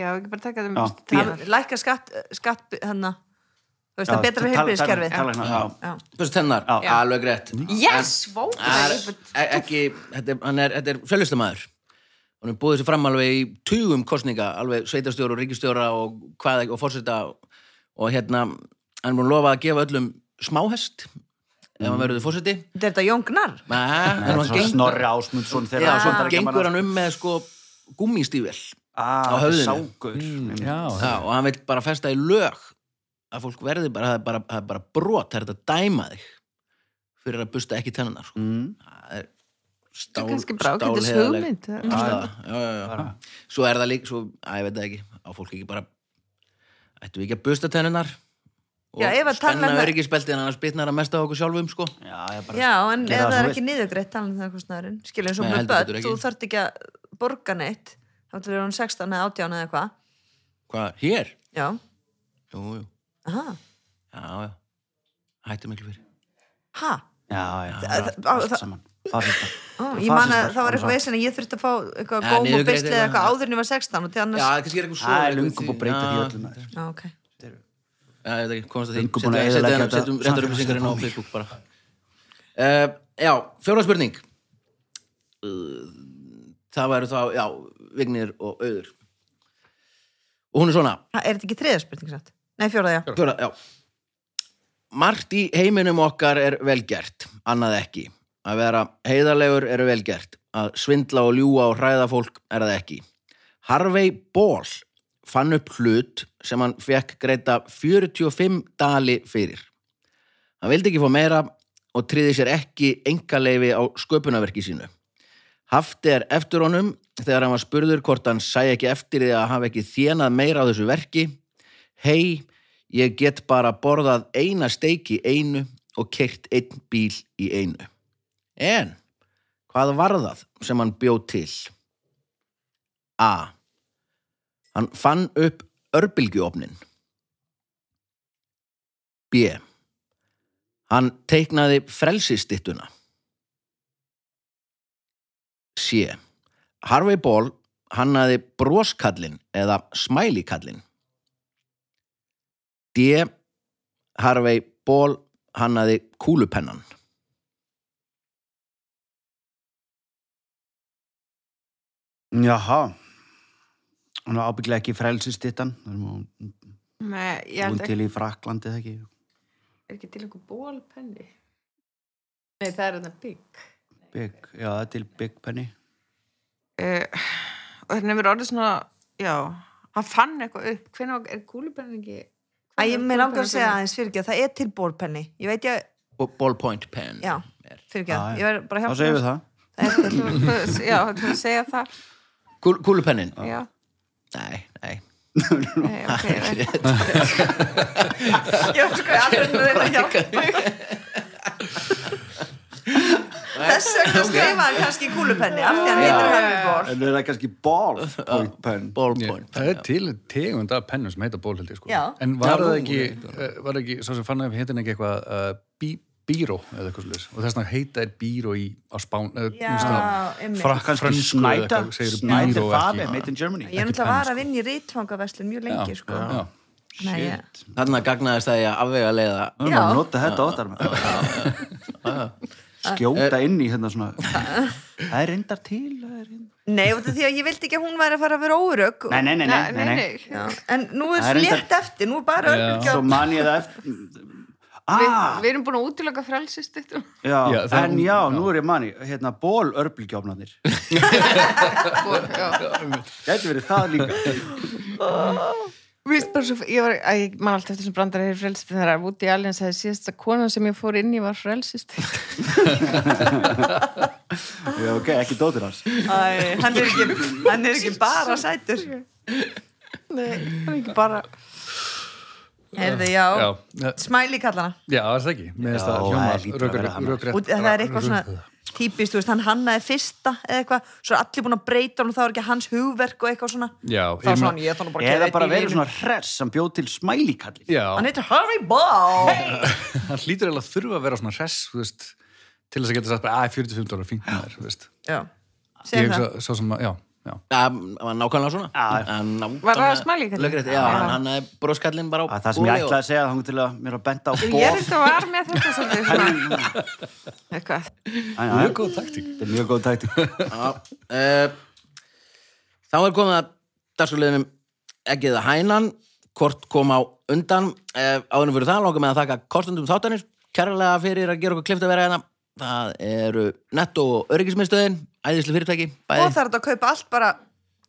Já, ekki bara taka það
Já, Ég-
með
Tal- Lækka skatt, skatt hennar Þú veist, það er betra fyrir heilbyrðiskerfið
heilbyrðiskerfið.
Já.
Buss tennar,
Já.
alveg rétt
Yes, vó!
Það er e- ekki, þetta er, hann er, þetta er fjölustamaður hann er búið sér fram alveg í tugum kostninga, alveg sveitastjóra og ríkistjóra og hvað ekki, og fórseta og, og hérna, hann er búin að lofa að gefa öllum smáhest ef hann verður fórseti
Þetta er þetta jóngnar
Nei, en hann
Svo
gengur-
Snorri Ásmundsson þegar
Já,
hann
svo
bandar ekki
gengur
mann
hann um með sko gúmmistível
á
á höfðinu.
Ah, Sákur.
Mm, Já,
Já, og hann vil bara festa í lög að fólk verði bara, það er bara, það er bara brot, það er þetta að dæma þig fyrir að busta ekki tennunar sko.
Mm.
það er
Það
stál,
er kannski bara ákveðtis
stálheiðarleg
hugmynd.
afstaða. já, já, já. svo er það líka svo, að ég veit það ekki á fólk ekki bara ættum við ekki að busta tennunar og
Já, ef að
spenna
tannlæknar-
öryggisbeltin annars bitnar að mesta á okkur sjálfum sko.
Já, ég bara...
Já, en
Gera
ef
það
það er
sem
ekki niðurgreitt talan það kostnæðurinn, skilur eins og
Nei,
með
heldur betur
börn,
ekki.
þú þarft ekki að borga neitt, þá ætlir hún 16 eða 18 eða eitthvað,
hvað, hér?
já
Jú, jú,
Aha.
já, já hættum ekki fyrir
ha,
Já, já,
Það-
allt-
það-
allt saman. Fasista.
Ó, ég man
Fasistar,
að það
alveg
var eitthvað veginn að ég þurfti að fá eitthvað
Ja,
góm og
niðurgreitt
beisli eða
eitthvað.
eitthvað áður en ég var 16 og til annars,
já, kannski er eitthvað svo
Það er
eitthvað
lungum
því-
búið að breyta því
Já,
öllum maður.
já, ok
Já, ég veit ekki, komast að því
Löngu búin að
Setja-
eyðileggja
setja-
þetta
Setjum réttar upplýsingarinn á Facebook bara uh, Já, fjóra spurning uh, Það væru þá, já, Vignir og Auður Og hún er svona
Ha, Er þetta ekki þriða spurning satt? Nei, fjóraða, já
fjóra, já Margt í heiminum okkar er velgert Annað ekki Að vera heiðarlegur er velgert Að svindla og ljúga og hræða fólk er það ekki Harvey Ball fann upp hlut sem hann fekk greita 45 dali fyrir. Hann vildi ekki fá meira og triði sér ekki engaleifi á sköpunarverki sínu. Hafti er eftir honum þegar hann var spurður hvort hann sæi ekki eftir því að hafa ekki þénað meira á þessu verki. Hei, ég get bara borðað eina steik í einu og keirt einn bíl í einu. En, hvað var það sem hann bjóð til? A. Hann fann upp örbylgjuofnin. B. Hann teiknaði frelsistittuna. C. Harvey Ball hannaði broskallin eða smælikallin. D. Harvey Ball hannaði kúlupennan.
Jaha. Hún var ábygglega ekki frelsistittan. Hún
Nei, ég
hún
held
til í Fraklandi eða ekki.
er ekki til einhver bólpenni nei það er þetta bygg
Big, já, það er til Big Penny.
uh, og þannig verður orðið svona já, hann fann eitthvað upp hvernig er kúlupenni ekki
Æ, ég með langar að segja aðeins fyrir ekki að það er til bólpenni Ég veit ég,
Og ballpoint pen.
já, fyrir ekki
Já, já.
að Ég var bara
Þá
að hjálpa
segjum
þér.
við það.
Það er til-
aðeins já, þú að segja það
Kúl, kúlupennin?
já,
Nei, nei.
nei, ok nei.
Ég var sko alveg að reyna að hjálpa Þess vegna skrifaði hann kannski kúlupenni af því hann
Já.
heitir Harvey Ball
En er það kannski ball point pen?
Ballpoint
Það er
pen.
til tegund af pennum sem heita bólhaldi sko.
Já.
En var
Já,
það ekki, eh, var það ekki, svo sem fann að heitin ekki eitthvað uh, bí, bíró eða eitthvað svolítið og þess vegna heita er bíró í á Spán eða
Já, einmitt.
fransku
Kannski snæta?
segir
Snæta
bíró
fabi,
ekki.
made in Germany.
Ég er náttúrulega var að vinna í rítfangaverslun mjög lengi, sko.
já, já.
Nei, ég-
Shit.
Þarna gagnaðist það ég að afvega leiða
Við erum að nota þetta oftar maður. Skjóta inn í hérna svona Það er reyndar til það er reyndar-
Nei, út af því að ég vildi ekki að hún væri að fara að vera órög.
Nei, nei, nei, nei,
Nei,
nei, nei.
nei,
Já, en nú er
Það er
svo
reyndar-
létt eftir, nú er bara
Já.
örbylgja.
Svo man ég það eftir Ah,
Við, við erum búin að útiloka frelsist eftir
já,
Já, það-
en já, nú er ég manni, hérna, ból örblíkjáfnarnir.
já.
Gæti verið það líka.
Vist, bara svo, ég var, að ég man alltaf eftir sem brandar er frelsist þegar að Woody Allen sagði síðast að konan sem ég fór inn í var frelsist
Já, ok, ekki dóttir hans.
Æ, hann, er ekki, hann er ekki bara sætur
Nei, það er ekki bara
Heyrðu,
Já,
já,
já,
smæli kallana
já, er það ekki Mér finnst
Já,
það
það hlýtur að vera
hljóma
hann.
og það er eitthvað svona típist, þú veist, hann hannaði fyrsta eða eitthvað, svo er allir búin að breyta hann og það var ekki hans hugverk og eitthvað svona
Já,
þá
ég
svo
meina-
hann, ég ætla nú bara að
Eða
keyra
bara
einn í
verið
lífinu.
svona hress sem bjóð til smælikallin.
hann
Já,
heitir Harry Ball
hann hlýtur eiginlega að þurfa að vera svona hress þú veist, til þess að geta sagt bara, að 45 dólar fínt maður þú veist.
já,
ég
segjum það
hugsa svo sem að, já, já
Já, hann var nákvæmlega svona
Já.
Hann nákvæmlega-
Var það smælíkallinn?
Lögrétt, Já,
Já.
hann, hann er broskallin bara á
Að það sem ég
borði
ætlaði að segja þá til að mér var bent á
Ég er
ból.
þetta var með þetta svolítið svona. Eitthvað
Æ, já,
Mjög góð taktík
Þetta er mjög góð taktík.
og, já, uh, Þá er komið að dagskuleginum ekki eða hænan Kort kom á undan uh, Áðunum fyrir það langar með að þakka kostundum þáttanir Kærlega fyrir að gera okkur klift að vera hérna Það eru netto og öryggismiðstöðin Æðislu fyrirtæki bæði.
og það er þetta að kaupa allt bara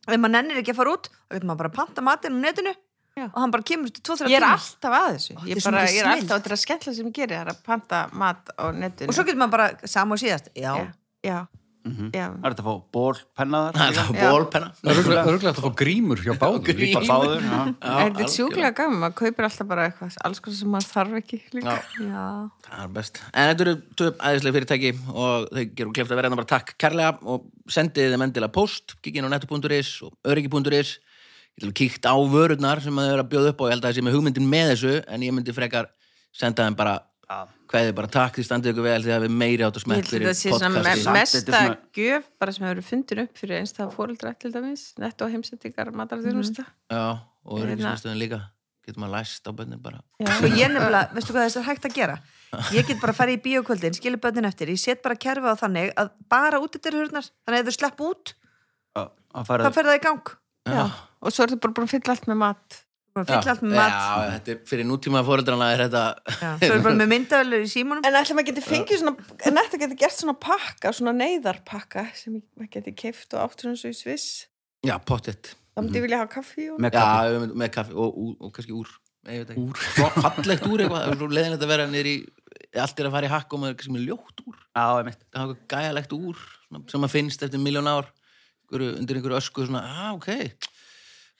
ef maður nennir ekki að fara út þá getur maður bara að panta matinn á netinu
Já.
og hann bara kemur til 2-3
Ég er
tíma
alltaf að þessu
þetta
Ég,
er svo
bara,
mikið
ég er
snilld.
alltaf að þetta skemmtla sem ég gerir Það er að panta mat á netinu
og svo getur maður bara saman og síðast já,
Já, já, já.
Það er þetta að fá ból, pennaðar.
Það er
Já.
þá bólpenna
Örglega að fá grímur hjá báðum
Grím.
líka.
Bara báður, já.
Þetta er sjúklega gaman, maður kaupir alltaf bara eitthvað alls konar sem maður þarf ekki líka
Já.
já.
Það er best. En þetta eru tvö æðislega fyrirtæki og þau gerum kleft að vera hérna bara takk kærlega og sendið þeim endilega post, kikið inn á netto.is og öryggi.is. Ég ætlum kíkt á vörurnar sem þau eru að bjóða upp á. Ég held að það sé með hugmyndin með þessu en ég myndi frekar senda þeim bara
Já.
hvaðið bara takk því standið ykkur vel því að við meiri átt að
Ég
smelt
held að þetta
fyrir
sé svona me-
podcastið.
Samt, þetta
mesta
er svona-
gjöf bara sem hefur fundin upp fyrir einstæða fóreldra til dæmis, netto heimsendingar matarðjónusta
Já, og
Hérna.
öryggismiðstöðin líka. Getur maður læst á bönnin bara.
Mhm.
Sko ég nefnilega, veistu hvað þess er hægt að gera? Ég get bara að fara í bíókvöldin, skilja börnin eftir, ég set bara kerfið á þannig að bara út þetta er hurnar, þannig að ef þau slepp út,
Já, Það
þá
færði
fer það í gang.
Já. Og svo er þetta bara búin að fylla allt með mat
Bara fylla allt með mat.
Já, þetta er fyrir nútíma fóreldrana er þetta
Já. Svo er bara með myndavölur í símanum.
En ætlum að geti fengið svona, en ætlum að geti gert svona pakka, svona neyðarpakka sem maður geti keift og áttur eins og í Sviss
Já, pottitt.
þá myndi ég vilja hafa kaffi og...
með kaffi.
Já, við myndum- með kaffi og, og, og kannski úr Nei, ég veit ekki. Svo fallegt úr eitthvað, það er svo leiðinlegt að vera nýr í allt er að fara í hakk og maður er kannski með ljótt úr
Já, ég mitt.
það er eitthvað gæjalegt úr svona, sem maður finnst eftir miljón ár einhverju, undir einhverju ösku svona, ah, ok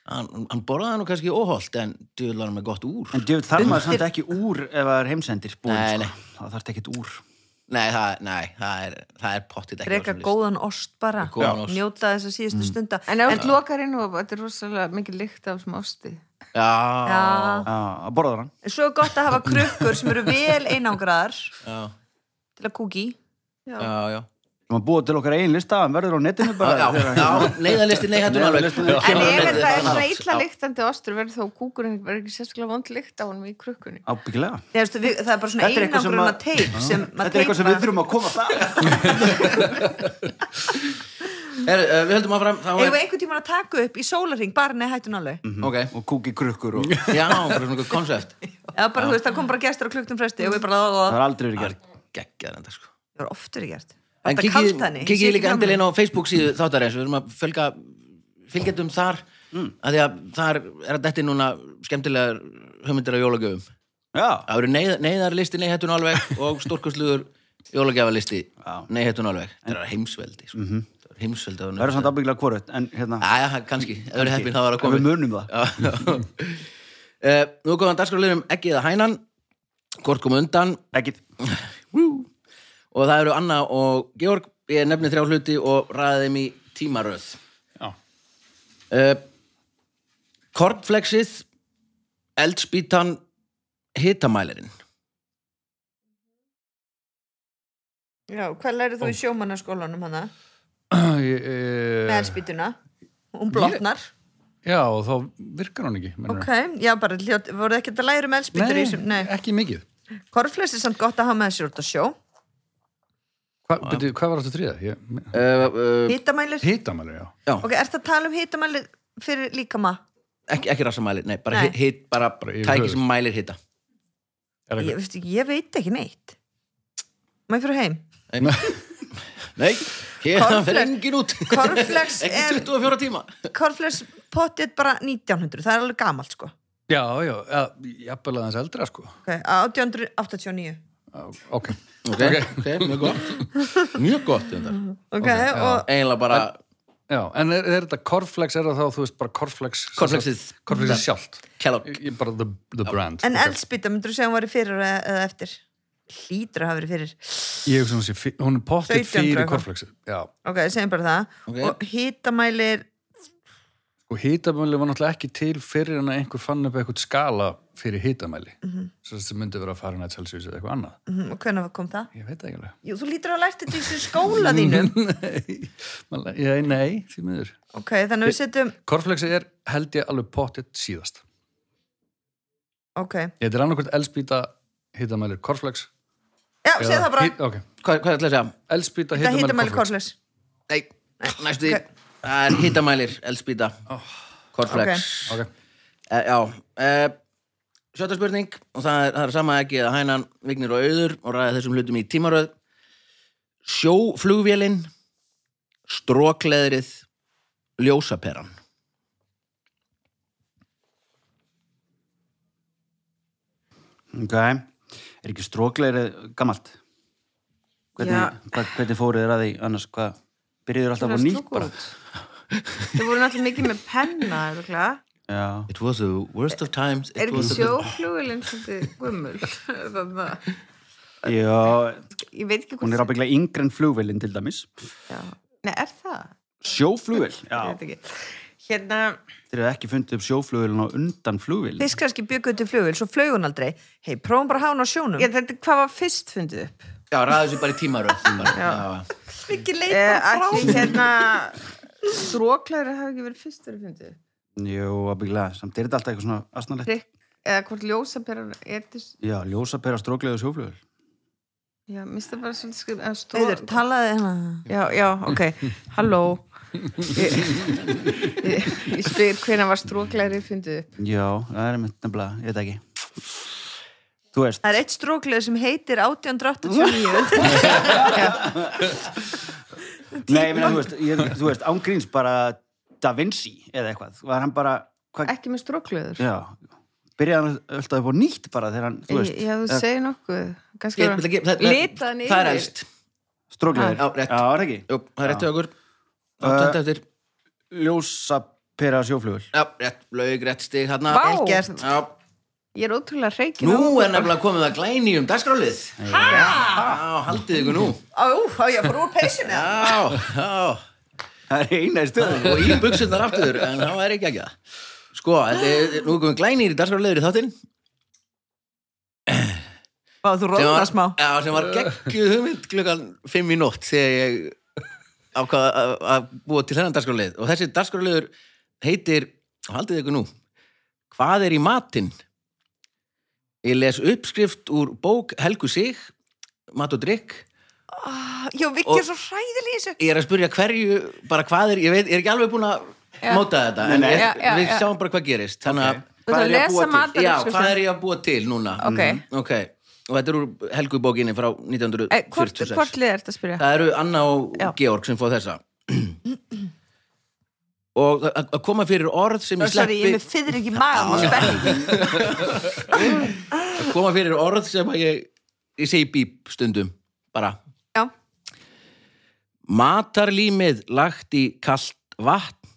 hann, hann borðaði nú kannski óholt en djúðlar með gott úr
En djöfn þarf maður samt ekki úr ef það er heimsendir búin.
Nei,
sko.
nei.
Það þarf ekkert úr.
Nei, það, nei, það er, það er pottitt ekki á
Reka
þessum lista.
góðan ost bara.
Góðan ost. Mm.
Njóta þess að síðustu stunda.
En ef þú lokar inn og þetta er rosalega mikið lykt af sem ásti
Já,
Já.
Já, að borða hann.
En Svo er gott að hafa krukkur sem eru vel einangraðar
já,
til að kúki. í.
já, já.
Maður búið til okkar eigin lista, hann verður á netinu bara.
Já, já, neyðarlisti, nei, hættum alveg
Neyðarlistin, nei,
En
Kemur á
ef
netið,
þetta er
annað
svona
hátt.
illa
Já.
lyktandi ostur verður þá kúkurinn verður ekki sérstaklega vond lykt á honum í krukkunni
Ábyggilega.
Nei, veistu, við- Það er bara svona
Þetta er eitthvað sem
einangruna
að-
teip sem
Þetta er eitthvað sem við
teipar.
þurfum að koma það.
Er, uh, Við höldum áfram, þá
Eigum
er
við einhvern tímann að taka upp í sólarring, bara neða hættun alveg.
Mm.
Ok,
Og kúki krukkur og...
já, bara svona einhver konsept
Eða bara, þú veist, það kom bara gestur á kluktum fresti og við bara
Það er aldrei verið
Það
gert.
er geggjað enda sko
Það er oft verið gert.
En
Þetta kalt
kikið,
henni.
kikið líka endilegin á Facebook síðu þáttarins, við erum að fölga fylgjendum þar mm. að því að þar er að detti núna skemmtilegar hugmyndir af jólagjöfum
Já.
Það eru neyð, neyðarlisti neyhettun alveg og stórkustlugur jólagjöfalisti
Já.
neyhettun alveg, það er heimsveldi sko. mm -hmm. það er heimsveldi á
Það verður samt ábyggilega hvorutt, en hérna...
Æja, kannski, ef við erum heppin þá var það
En
komið
Við munum það.
Já. Eh, Nú komum dagskráleinum ekki eða hænan Kort kom undan
Ekki.
Woo. og það eru Anna og Georg ég nefni þrjá hluti og ræði þeim í tímaröð
Já.
uh, Kornflexið eldspýtan hitamælirinn
Já, hvað lærið þú í sjómannaskólanum hana?
Ég,
Eh.
Með
ég,
elspýtuna? Hún blotnar.
já, og þá virkar hann ekki meinarðu?
Ok, já, bara hljótt, voruð ekki að læra um elspýtur í þessum? Nei.
ekki mikið
Korfles er samt gott að hafa með sér út að sjó.
Hva, byrju, Hvað var þetta þriða? Ég-
uh, uh,
Hítamælir.
Hitamæli, já
Ok, ert að tala um hítamælir fyrir líkama?
ekki, ekki rassamælir, nei, bara,
Nei.
nei. Hit, bara
Bara yfir
tæki
höfuð.
sem mælir hita
Er
ég,
eitthvað-
veistu, ég veit ekki neitt maður fyrir heim
Nei, hérna
Cornflake-
fer engin út
Cornflakes
Ekki
er-
24 tíma
Korfles pottið bara 1900 það er alveg gamalt sko
Já, já, ja, jafnvel aðeins eldra sko
okay, 1889
Já, Ok,
Ok, ok, mjög gott Mjög gott þetta
ok,
Ok, já.
og
Eiginlega bara
já, en er, er þetta korflex, er það þá, þú veist, bara korflex
Cornflakesið.
Korflexið sjálft
Kellogg
Ég- Ég bara the, the brand
En
Ok.
eldspýta, myndur þú segja hún var fyrir eða, eða eftir? Hlýtur að hafa verið fyrir.
Ég hugsa hún sé, fi- hún er pottir
1700
fyrir
eitthvað.
korflexið Já,
Ok, segjum bara það.
Ok.
Og hýtamælir,
og hitamæli var náttúrulega ekki til fyrir en að einhver fann upp eitthvað skala fyrir hitamæli mm
Mhm.
-hmm. svo þetta myndi vera að fara hann að Celsius eða eitthvað annað
hm, og hvernig kom það?
ég veit það ekki alveg
Jú, þú lítur að lært þetta í þessu skóla þínum.
nei, maður- já, nei, því miður
Ok, þannig að við setjum,
korflexi er held ég alveg pottitt síðast
ok.
þetta er annarkvæmt elspýta hitamælir korflex
Já, segja það bara.
hit, okay.
Hvað, hvað ætlaði að segja?
elspýta
Það
hitamælir
hýtamælir
korflex
korsleis.
Nei, næstu því
ok.
Það er hittamælir, eldspýta
Oh.
Korflex
okay.
e, Já e, Sjötta spurning og það er, það er sama ekki að hænan vignir og auður og ræða þessum hlutum í tímaröð Sjóflugvélin Strókleðrið Ljósaperan
Ok, er ekki strókleiri gamalt? Hvernig,
Já.
hvað, hvernig fóruð þér að því annars? Hvað, byrjuður alltaf á
Hvernig
nýtt bara?
Þau voru náttúrulega mikið með penna örugglega.
Já,
It was the worst of times it
Er ekki
was the-
sjóflugilinn svolítið gummul? Þannig að
Já
ég veit ekki hvort...
hún er ábygglega yngri en flugvélinn til dæmis.
Já. Nei, er það?
Sjóflugvél,
Ég
já.
veit ekki. Hérna,
Þeir eru ekki fundið upp sjóflugvélinn á undan flugvélinn.
Þess kannski bygguð til flugil, svo flög hún aldrei. Hei, prófum bara að hafa hún á sjónum.
ég, þetta, hvað var fyrst fundið upp?
Já, ræða þessu bara í tímaröð bara.
Já.
Já.
Eh,
Mikið leita frá.
Allir hérna, stróklæri hafi ekki verið fyrst verið fundið upp.
Jú, ábygglega, samt er þetta alltaf eitthvað svona asnalegt.
Prikk, eða hvort ljósaperan er þess...
Já, ljósapera strókleiri og sjóflugvél.
Já, mista bara svolítið skrif... eða stró-
Heiður, talaði hérna.
Já, já, ok. Halló. Ég, ég, ég spyr hvernig var stróklæri fundið upp.
Já, það er mitt nefnilega, ég veit ekki. Þú veist,
Það er eitt strókleð sem heitir 1889.
nei, ég meina, þú veist, ég, þú veist, ángríns bara Da Vinci eða eitthvað. Var hann bara, hvað,
Ekki með stróklæður.
já, byrjaði hann alltaf upp á nýtt bara þegar hann, þú veist, Eh.
Já, þú
eða
segir nokkuð.
Ég-
Kannski
ég- ég- það- það-
litaðan yfir.
Það er elst
strókleður.
Já, rétt.
Já, er það ekki?
Jú, það er rétt hjá okkur
Uh,
Áttönda eftir
Ljósapera sjóflugvél.
Já, rétt, laug, rétt stig hérna
Vá,
Vel gert.
Já,
ég er ótrúlega reikin
nú er nefnilega komið að glæni um dagskrálið Hæ? Já, haldið ykkur nú
Á, á, ég fór úr peysunni.
Já, já
Það er eina í stöðum.
og í buksunar aftur en það er ekki ekki það sko, þetta er- nú komum glænir í dagskrárleður í þáttinn
Vá, þú
sem
róðna
var,
smá.
já, sem var geggjuð hugmynd klukkan 5 í nótt þegar ég ákvað að- að búa til þennan dagskrárleð og þessi dagskrárleður heitir og haldið ykkur nú hvað er í matinn ég les uppskrift úr bók Helgu Sig mat og drikk
Já, Viki er svo hræðileg í þessu.
ég er að spurja hverju, bara hvað er ég veit, ég er ekki alveg búin að móta þetta en ég,
Já, já,
við
já.
sjáum bara hvað gerist þannig að
Þú ætlar að lesa
Já,
matar
hvað er ég að búa til núna?
Ok.
Mm, ok, og þetta er úr helgubókinni frá
Eh, Hvort,
1946.
hvort lið er þetta að spyrja?
Það eru Anna og
Já.
Georg sem fóð þessa. og að að koma fyrir orð sem ég
Sorry, ég
sleppi,
er með fyrir ekki maður og spenningi.
að koma fyrir orð sem að ég, ég segi bíp stundum, bara.
Já,
Matarlímið lagt í kalt vatn,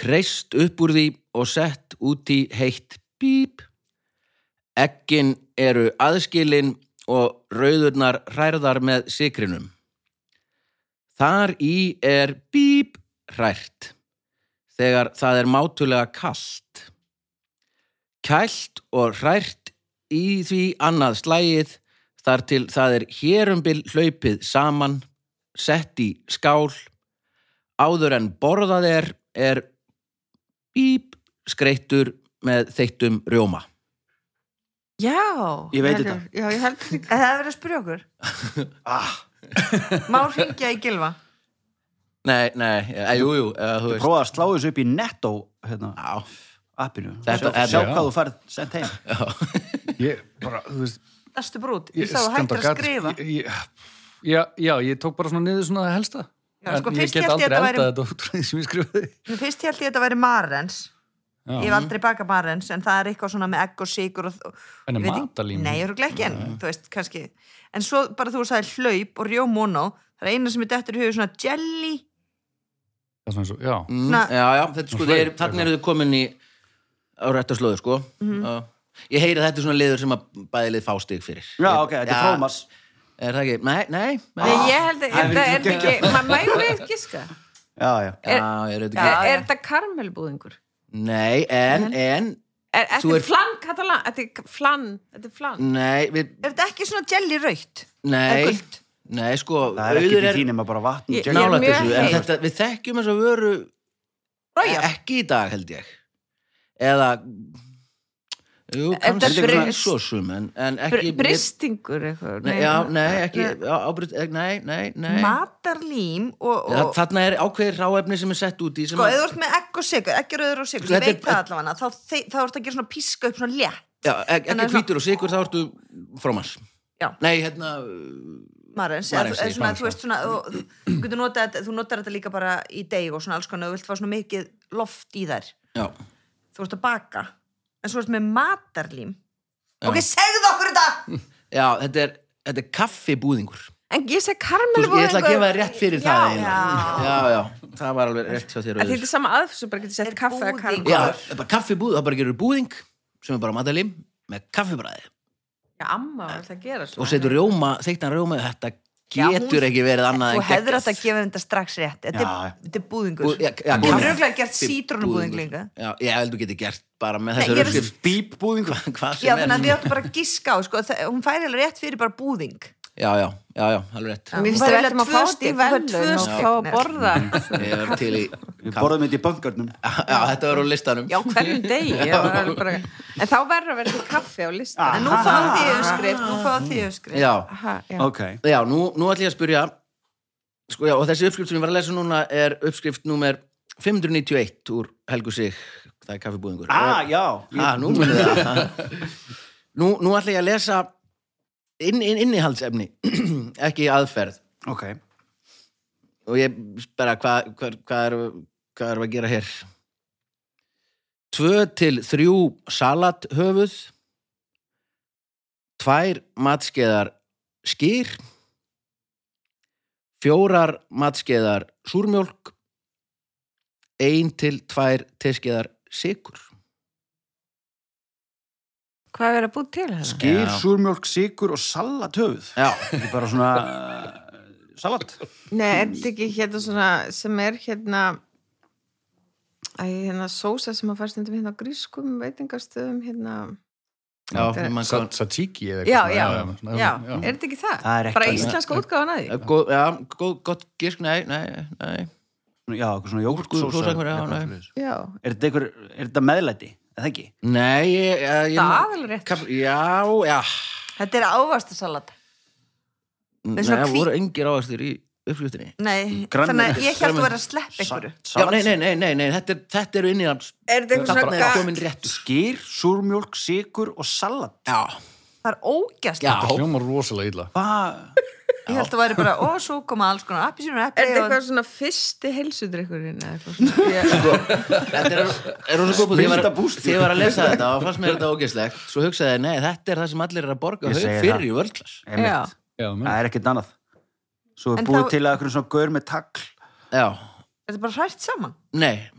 kreist upp úr því og sett út í heitt bíp. Ekkin eru aðskilin og rauðurnar hrærðar með sikrinum. Þar í er bíp hrært þegar það er mátulega kalt. Kælt og hrært í því annað slægið þar til það er hérumbil hlaupið saman sett í skál áður en borðað er er bíp skreittur með þeittum rjóma
Já.
Ég veit
held
þetta.
Já, ég held þetta.
En það er verið að spyrja okkur.
Ah.
Má ringja í gilva.
Nei, nei, e, jú, jú, e, þú veist
Prófa að slá þessu upp í netto, hérna,
Já,
appinu.
Þetta
sjá,
er-
sjá
já.
hvað þú farið sent heim.
Ég bara, þú veist,
Dastu brút,
ég
ég sá að hættir að skrifa
ég, ég, já, já, ég tók bara svona niður svona það helsta
Já,
En
sko,
ég
fyrst hélt
get
ég
aldrei
þetta
eldað
væri-
þetta út frá því sem ég skrifaði
Nú, Fyrst held ég að þetta væri marrens
Já.
Ég hef aldrei bakað marrens En það er eitthvað svona með egg og sigur og, og,
En er
ég veit ekki-
matarlín?
Nei, ég eru ekki en þú veist, kannski En svo bara þú sagði hlaup og rjómono Það er eina sem er dettur í hugur svona jelly
Það er svona svo, já,
Mm,
Na-
já, já, þetta sko,
Svona
þeir,
fleiri,
þannig eru þau komin í á réttar slóðu, sko
Mhm.
Já. Ég heyri að þetta er svona liður sem að bæði lið fá stig fyrir
Já,
Ég-
ok, þetta er frómas.
Er það ekki? Nei, nei, nei.
Nei, ég held að, er
það er
það er ekki, maður mægur ekki giska.
Já, já.
Já, ég er þetta
Er,
ekki
er þetta karmelbúðingur?
Nei, en, en,
Er,
Þú
þetta
ert-
er flann katalan, þetta er flann, þetta er flann.
nei, við,
Er þetta ekki svona jelly raukt? Er
nei
gult?
Nei, sko,
Það er ekki
auður
til
er
þín nema bara vatn.
Ég-
og jelly.
ég-
nálægt
mjög
þessu en
heit.
þetta, við þekkjum þess að vöru
Rója,
ekki í dag held ég eða jú, kannski
þetta
svona
brist-
svo sum en, en
Br
ekki
bristingur eitthvað.
nei, já, nei, ekki já, ábryt, nei, nei, nei
matarlím og,
Þa,
og
þarna er ákveðið ráefni sem er sett út í sem
Sko,
að-
ef þú ert með egg og sigur, ekki rauður og sigur,
Sko,
ég
þetta er-
veit það allavega, þá, þá, þá ertu að gera svona píska upp svona létt,
já, ek-
þannig
ekki
að svona-
hvítur og sigur þá ertu frómans
Já.
nei, hérna,
Marens,
Marens,
eða, eða
ég
svona,
fann
þú veist svona, þú, þú getur notað, þetta- þú notar þetta líka bara í deg og svona alls konar, þú vilt fá svona mikið loft í þær,
já,
þú ert að baka, en svo ert með matarlím.
Já.
Ok, segðu okkur þetta!
já, þetta er þetta er kaffibúðingur
En ég segi
Þú, ég ætla að gefa þér
karmelbúðingur.
rétt fyrir
Já,
það eiginlega.
já.
já, já, það var alveg rétt hjá þér
Þetta
Auður.
er sama aðfyrir sem bara getur
Er
sett kaffe að
búðingur.
karmelbúðingur.
Já,
Maður.
bara kaffibúð, það bara gerur búðing sem er bara matalim með kaffibræði
Já, amma var alltaf að gera svona.
og setur rjóma, þeiktan rjóma þetta
Já, hún-
getur ekki verið annað
Þú
en
hefur
geggjað.
þetta að gefa þetta strax rétt, þetta
Já,
er,
já.
þetta er búðingur.
Bú- já, já,
Þú getur
kaffi-
örugglega gert sítrónubúðing
búðingur.
líka.
Já, ég held þú getur gert bara með
Nei,
þessu
ég er að-
röskif Bípbúðingur Hvað
Já,
sem
þannig að
er
við áttum bara að giska á, sko, það, hún færi alveg rétt fyrir bara búðing.
Já, já, já, já, alveg rétt
Mér finnst
Þú
það
færð
veltum að
tvö
fá þetta í
stig, þú færð tvö
velun og
stig.
fá að borða.
Ég er til í
Við borðum þetta í bankarnum.
Já, þetta var á listanum
Já, hverjum degi. ég var alveg bara- En þá verður að vera til kaffe á listan.
En nú fáðu því öskrift, nú fáðu því öskrift.
Ah. Já,
Aha, já.
Ok.
já, nú, nú ætlum ég að spyrja Sko, já, og þessi uppskrift sem ég var að lesa núna er uppskrift númer 591 úr Helgu Sig Það er kaffibúðingur
Ah, já.
Ah, nú munið þið það. nú, nú ætla ég að lesa inn, inn, innihaldsefni, ekki aðferð.
Ok.
Og ég bara, hvað hva, hva erum hva er að gera hér? Tvö til þrjú salathöfuð, tvær matskeiðar skýr, fjórar matskeiðar súrmjólk, ein til tvær teskeiðar sykur.
Hvað er verið að búið til
Sko,
hérna?
Gyr,
Já.
súrmjólk, sigur og salat höfuð.
Já,
Þetta er bara svona uh, salat.
Nei, er þetta ekki hérna svona sem er hérna æ, hérna sósa sem að fara stundum hérna á grískum veitingastöðum hérna
já, ég man hvað-
Sa- tzatziki eða
Já,
eitthvað
já,
svona,
já, er þetta ekki það?
Það er ekki
Bara
alveg-
íslenska útgáðan að því?
Góð, já, góð, gott gísk, nei, nei, nei.
Já, eitthvað svona
Sósa
jógurtsósa.
einhverja, já, nei.
Já,
Er þetta einhver, er þetta meðlæti? Er það ekki?
Nei, ég... ég- ég-
Það er alveg rétt.
Kaf- Já, já.
Þetta er ávastasalat.
Nei,
er svona
það
hví-
voru engir áherslir í uppskriftinni.
Nei,
Grænmeti-
þannig að ég held
grænmeti-
að vera að sleppa
Já,
einhverju.
nei,
Salat,
nei, nei, nei, nei, þetta, er- þetta eru inn í hans.
er þetta eitthvað
Þetta
svona
er
ga-
komin réttur.
Gyr, súrmjólk, sigur og salat.
Já,
Það er
já.
ógæslega.
Hljómar rosalega illa
Hvað?
Ég held að væri bara, ó, svo koma alls konar appisínur
Er
og
þetta
epli
eitthvað svona fyrsti helsudrykkurinn eða eitthvað svona? Já.
Sko, Þetta er, er rosa góð búið. Þegar ég
Spilta
var-
bústur.
þegar ég var að lesa þetta og fannst mér þetta ógeðslegt, svo hugsaði ég, nei, þetta er það sem allir er að borga
Ég
haug
segi
fyrir
það.
í vörlklass.
Einmitt.
Já.
Já, menn.
Það er ekkert annað. Svo er
En
búið
þá-
til að eitthvað svona gaur með tagl.
Já,
Þetta er bara hrært saman.
nei,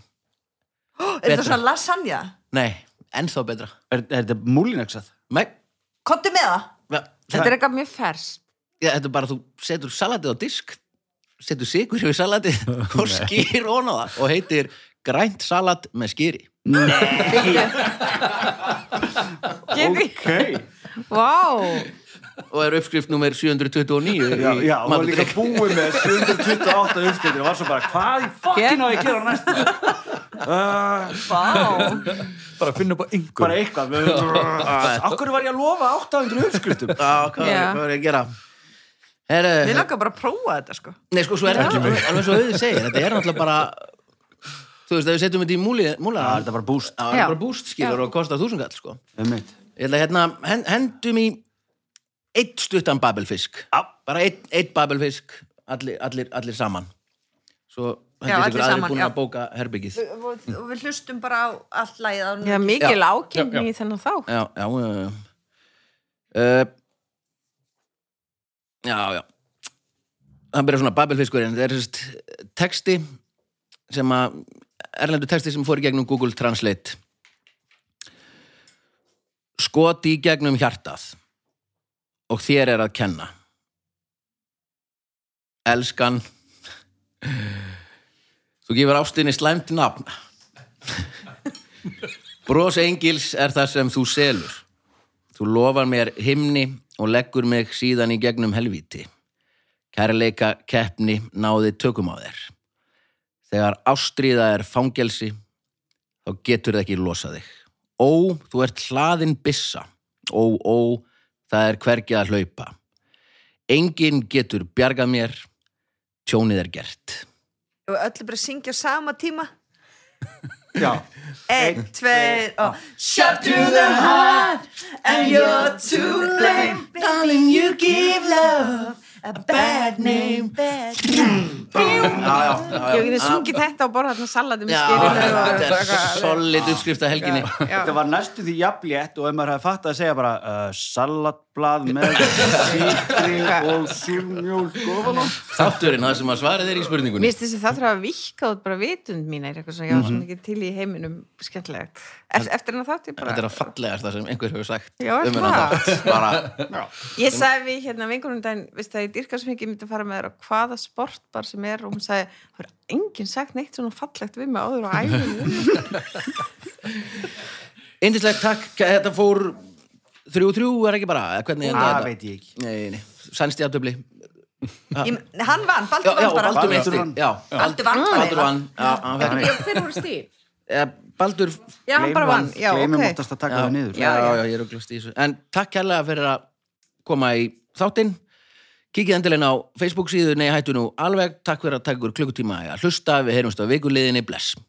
Er þetta
Betra.
svona lasagna?
nei, ennþá betra.
Er, er þetta múlinaksað?
Nei,
Kottu með það?
ja,
Þetta er eitthvað mjög fers
Já, þetta er bara að þú setur salatið á disk setur sigur yfir salatið og skýr ón á það og heitir grænt salat með skýri
Ok.
Vá,
og er uppskrift nummer 729
Já,
í
já, hún var
Mat og
líka
drykk.
búið með 728 uppskiptir og var svo bara, hvað í fokkin á
Hérna,
ég að gera næst? Sko.
Vá.
Bara finna upp á einhver
Bara eitthvað. Akkur var ég að lofa 800 uppskriftum?
Já, hvað
Já.
er- hvað er ég að gera
Mér
Heru,
langar bara að prófa þetta, sko.
Nei, sko, svo er þetta alveg alveg svo auðvitað segir þetta er náttúrulega bara þú veist, ef við setjum þetta í múli, múla
Það er þetta bara búst.
það
Já.
er bara búst skýrur og kostar þúsungall sko.
Um mitt.
Ég ætla hérna, hen- hendum í eitt stuttan babelfisk. Já. Bara eitt, eitt babelfisk, allir, allir, allir saman. Svo
Já,
hendur
allir
ykkur aðrir
saman,
búin
já.
að bóka herbyggið. Já,
og, og við hlustum bara á allt lægið á
Já,
nú
mikil
Já,
ákynni í þennan þá.
já, já. já. Uh, já, já. Það byrja svona babelfiskurinn. Það er sérst texti sem að, erlendu texti sem fór í gegnum Google Translate. Skot í gegnum hjartað og þér er að kenna. Elskan, þú gefur ástinni slæmt nafn. Bros engils er það sem þú selur. Þú lofar mér himni og leggur mig síðan í gegnum helvíti. Kærleika keppni náði tökum á þér. Þegar ástríða er fangelsi, þá getur það ekki losað þig. Ó, þú ert hlaðin byssa. Ó, ó, það er hvergi að hlaupa. Engin getur bjargað mér, tjónið er gert.
og öll bara syngja á sama tíma
Já.
Einn, tveir og Shot to the heart and you're to blame Darling, you give love a bad name bad
Ég hef ekki sungið þetta og borðað þarna salati með
Já,
skýrinu og
þetta er
eitthvað.
solid uppskrift að helginni.
Þetta var næstu því jafnlétt og ef maður hefði fatt að segja bara uh, salatblað með sýkri og súrmjólk ofan á.
Þátturinn, það sem að svarið er í spurningunni.
Mér finnst þess að það þarf að vikka út bara vitund mín er eitthvað svona,
Mhm.
ég var svona ekki til í heiminum skemmtilegt. Eft- Eftir hennar þátt ég bara...
Þetta er að fallegast það sem einhver hefur sagt
Já, er
um hennar
það?
þátt. Bara,
Ég sagði við hérna vingunum daginn, veist það, ég dyrka svo mikið, ég myndi að fara með þér á hvaða sportbar sem er og hún sagði, það er enginn sagt neitt svona fallegt við mig áður á æfum.
Indislegt takk, þetta fór 3-3 er ekki bara, eða hvernig endaði
Það
þetta?
Ah, veit ég ekki.
Nei, nei, sænst í aftöfli
Ég- Hann vann,
Já,
Baldur
já,
vann bara
Baldur
Baldur
meitt stig,
vann.
já.
Baldur vann bara.
Baldur vann, já, hann fekk
Já, hver voru stíð?
Eh, Baldur, já,
Já, hann bara vann, já,
Gleimum
ok.
oftast að taka það niður.
já, já, ég er okkur stíð En takk kærlega fyrir að koma í þáttinn Kikið endilegin á Facebook síðu, nei, hættu nú alveg Takk fyrir að taka ykkur klukkutíma í að hlusta Við heyrumst á vikuliðinni, bless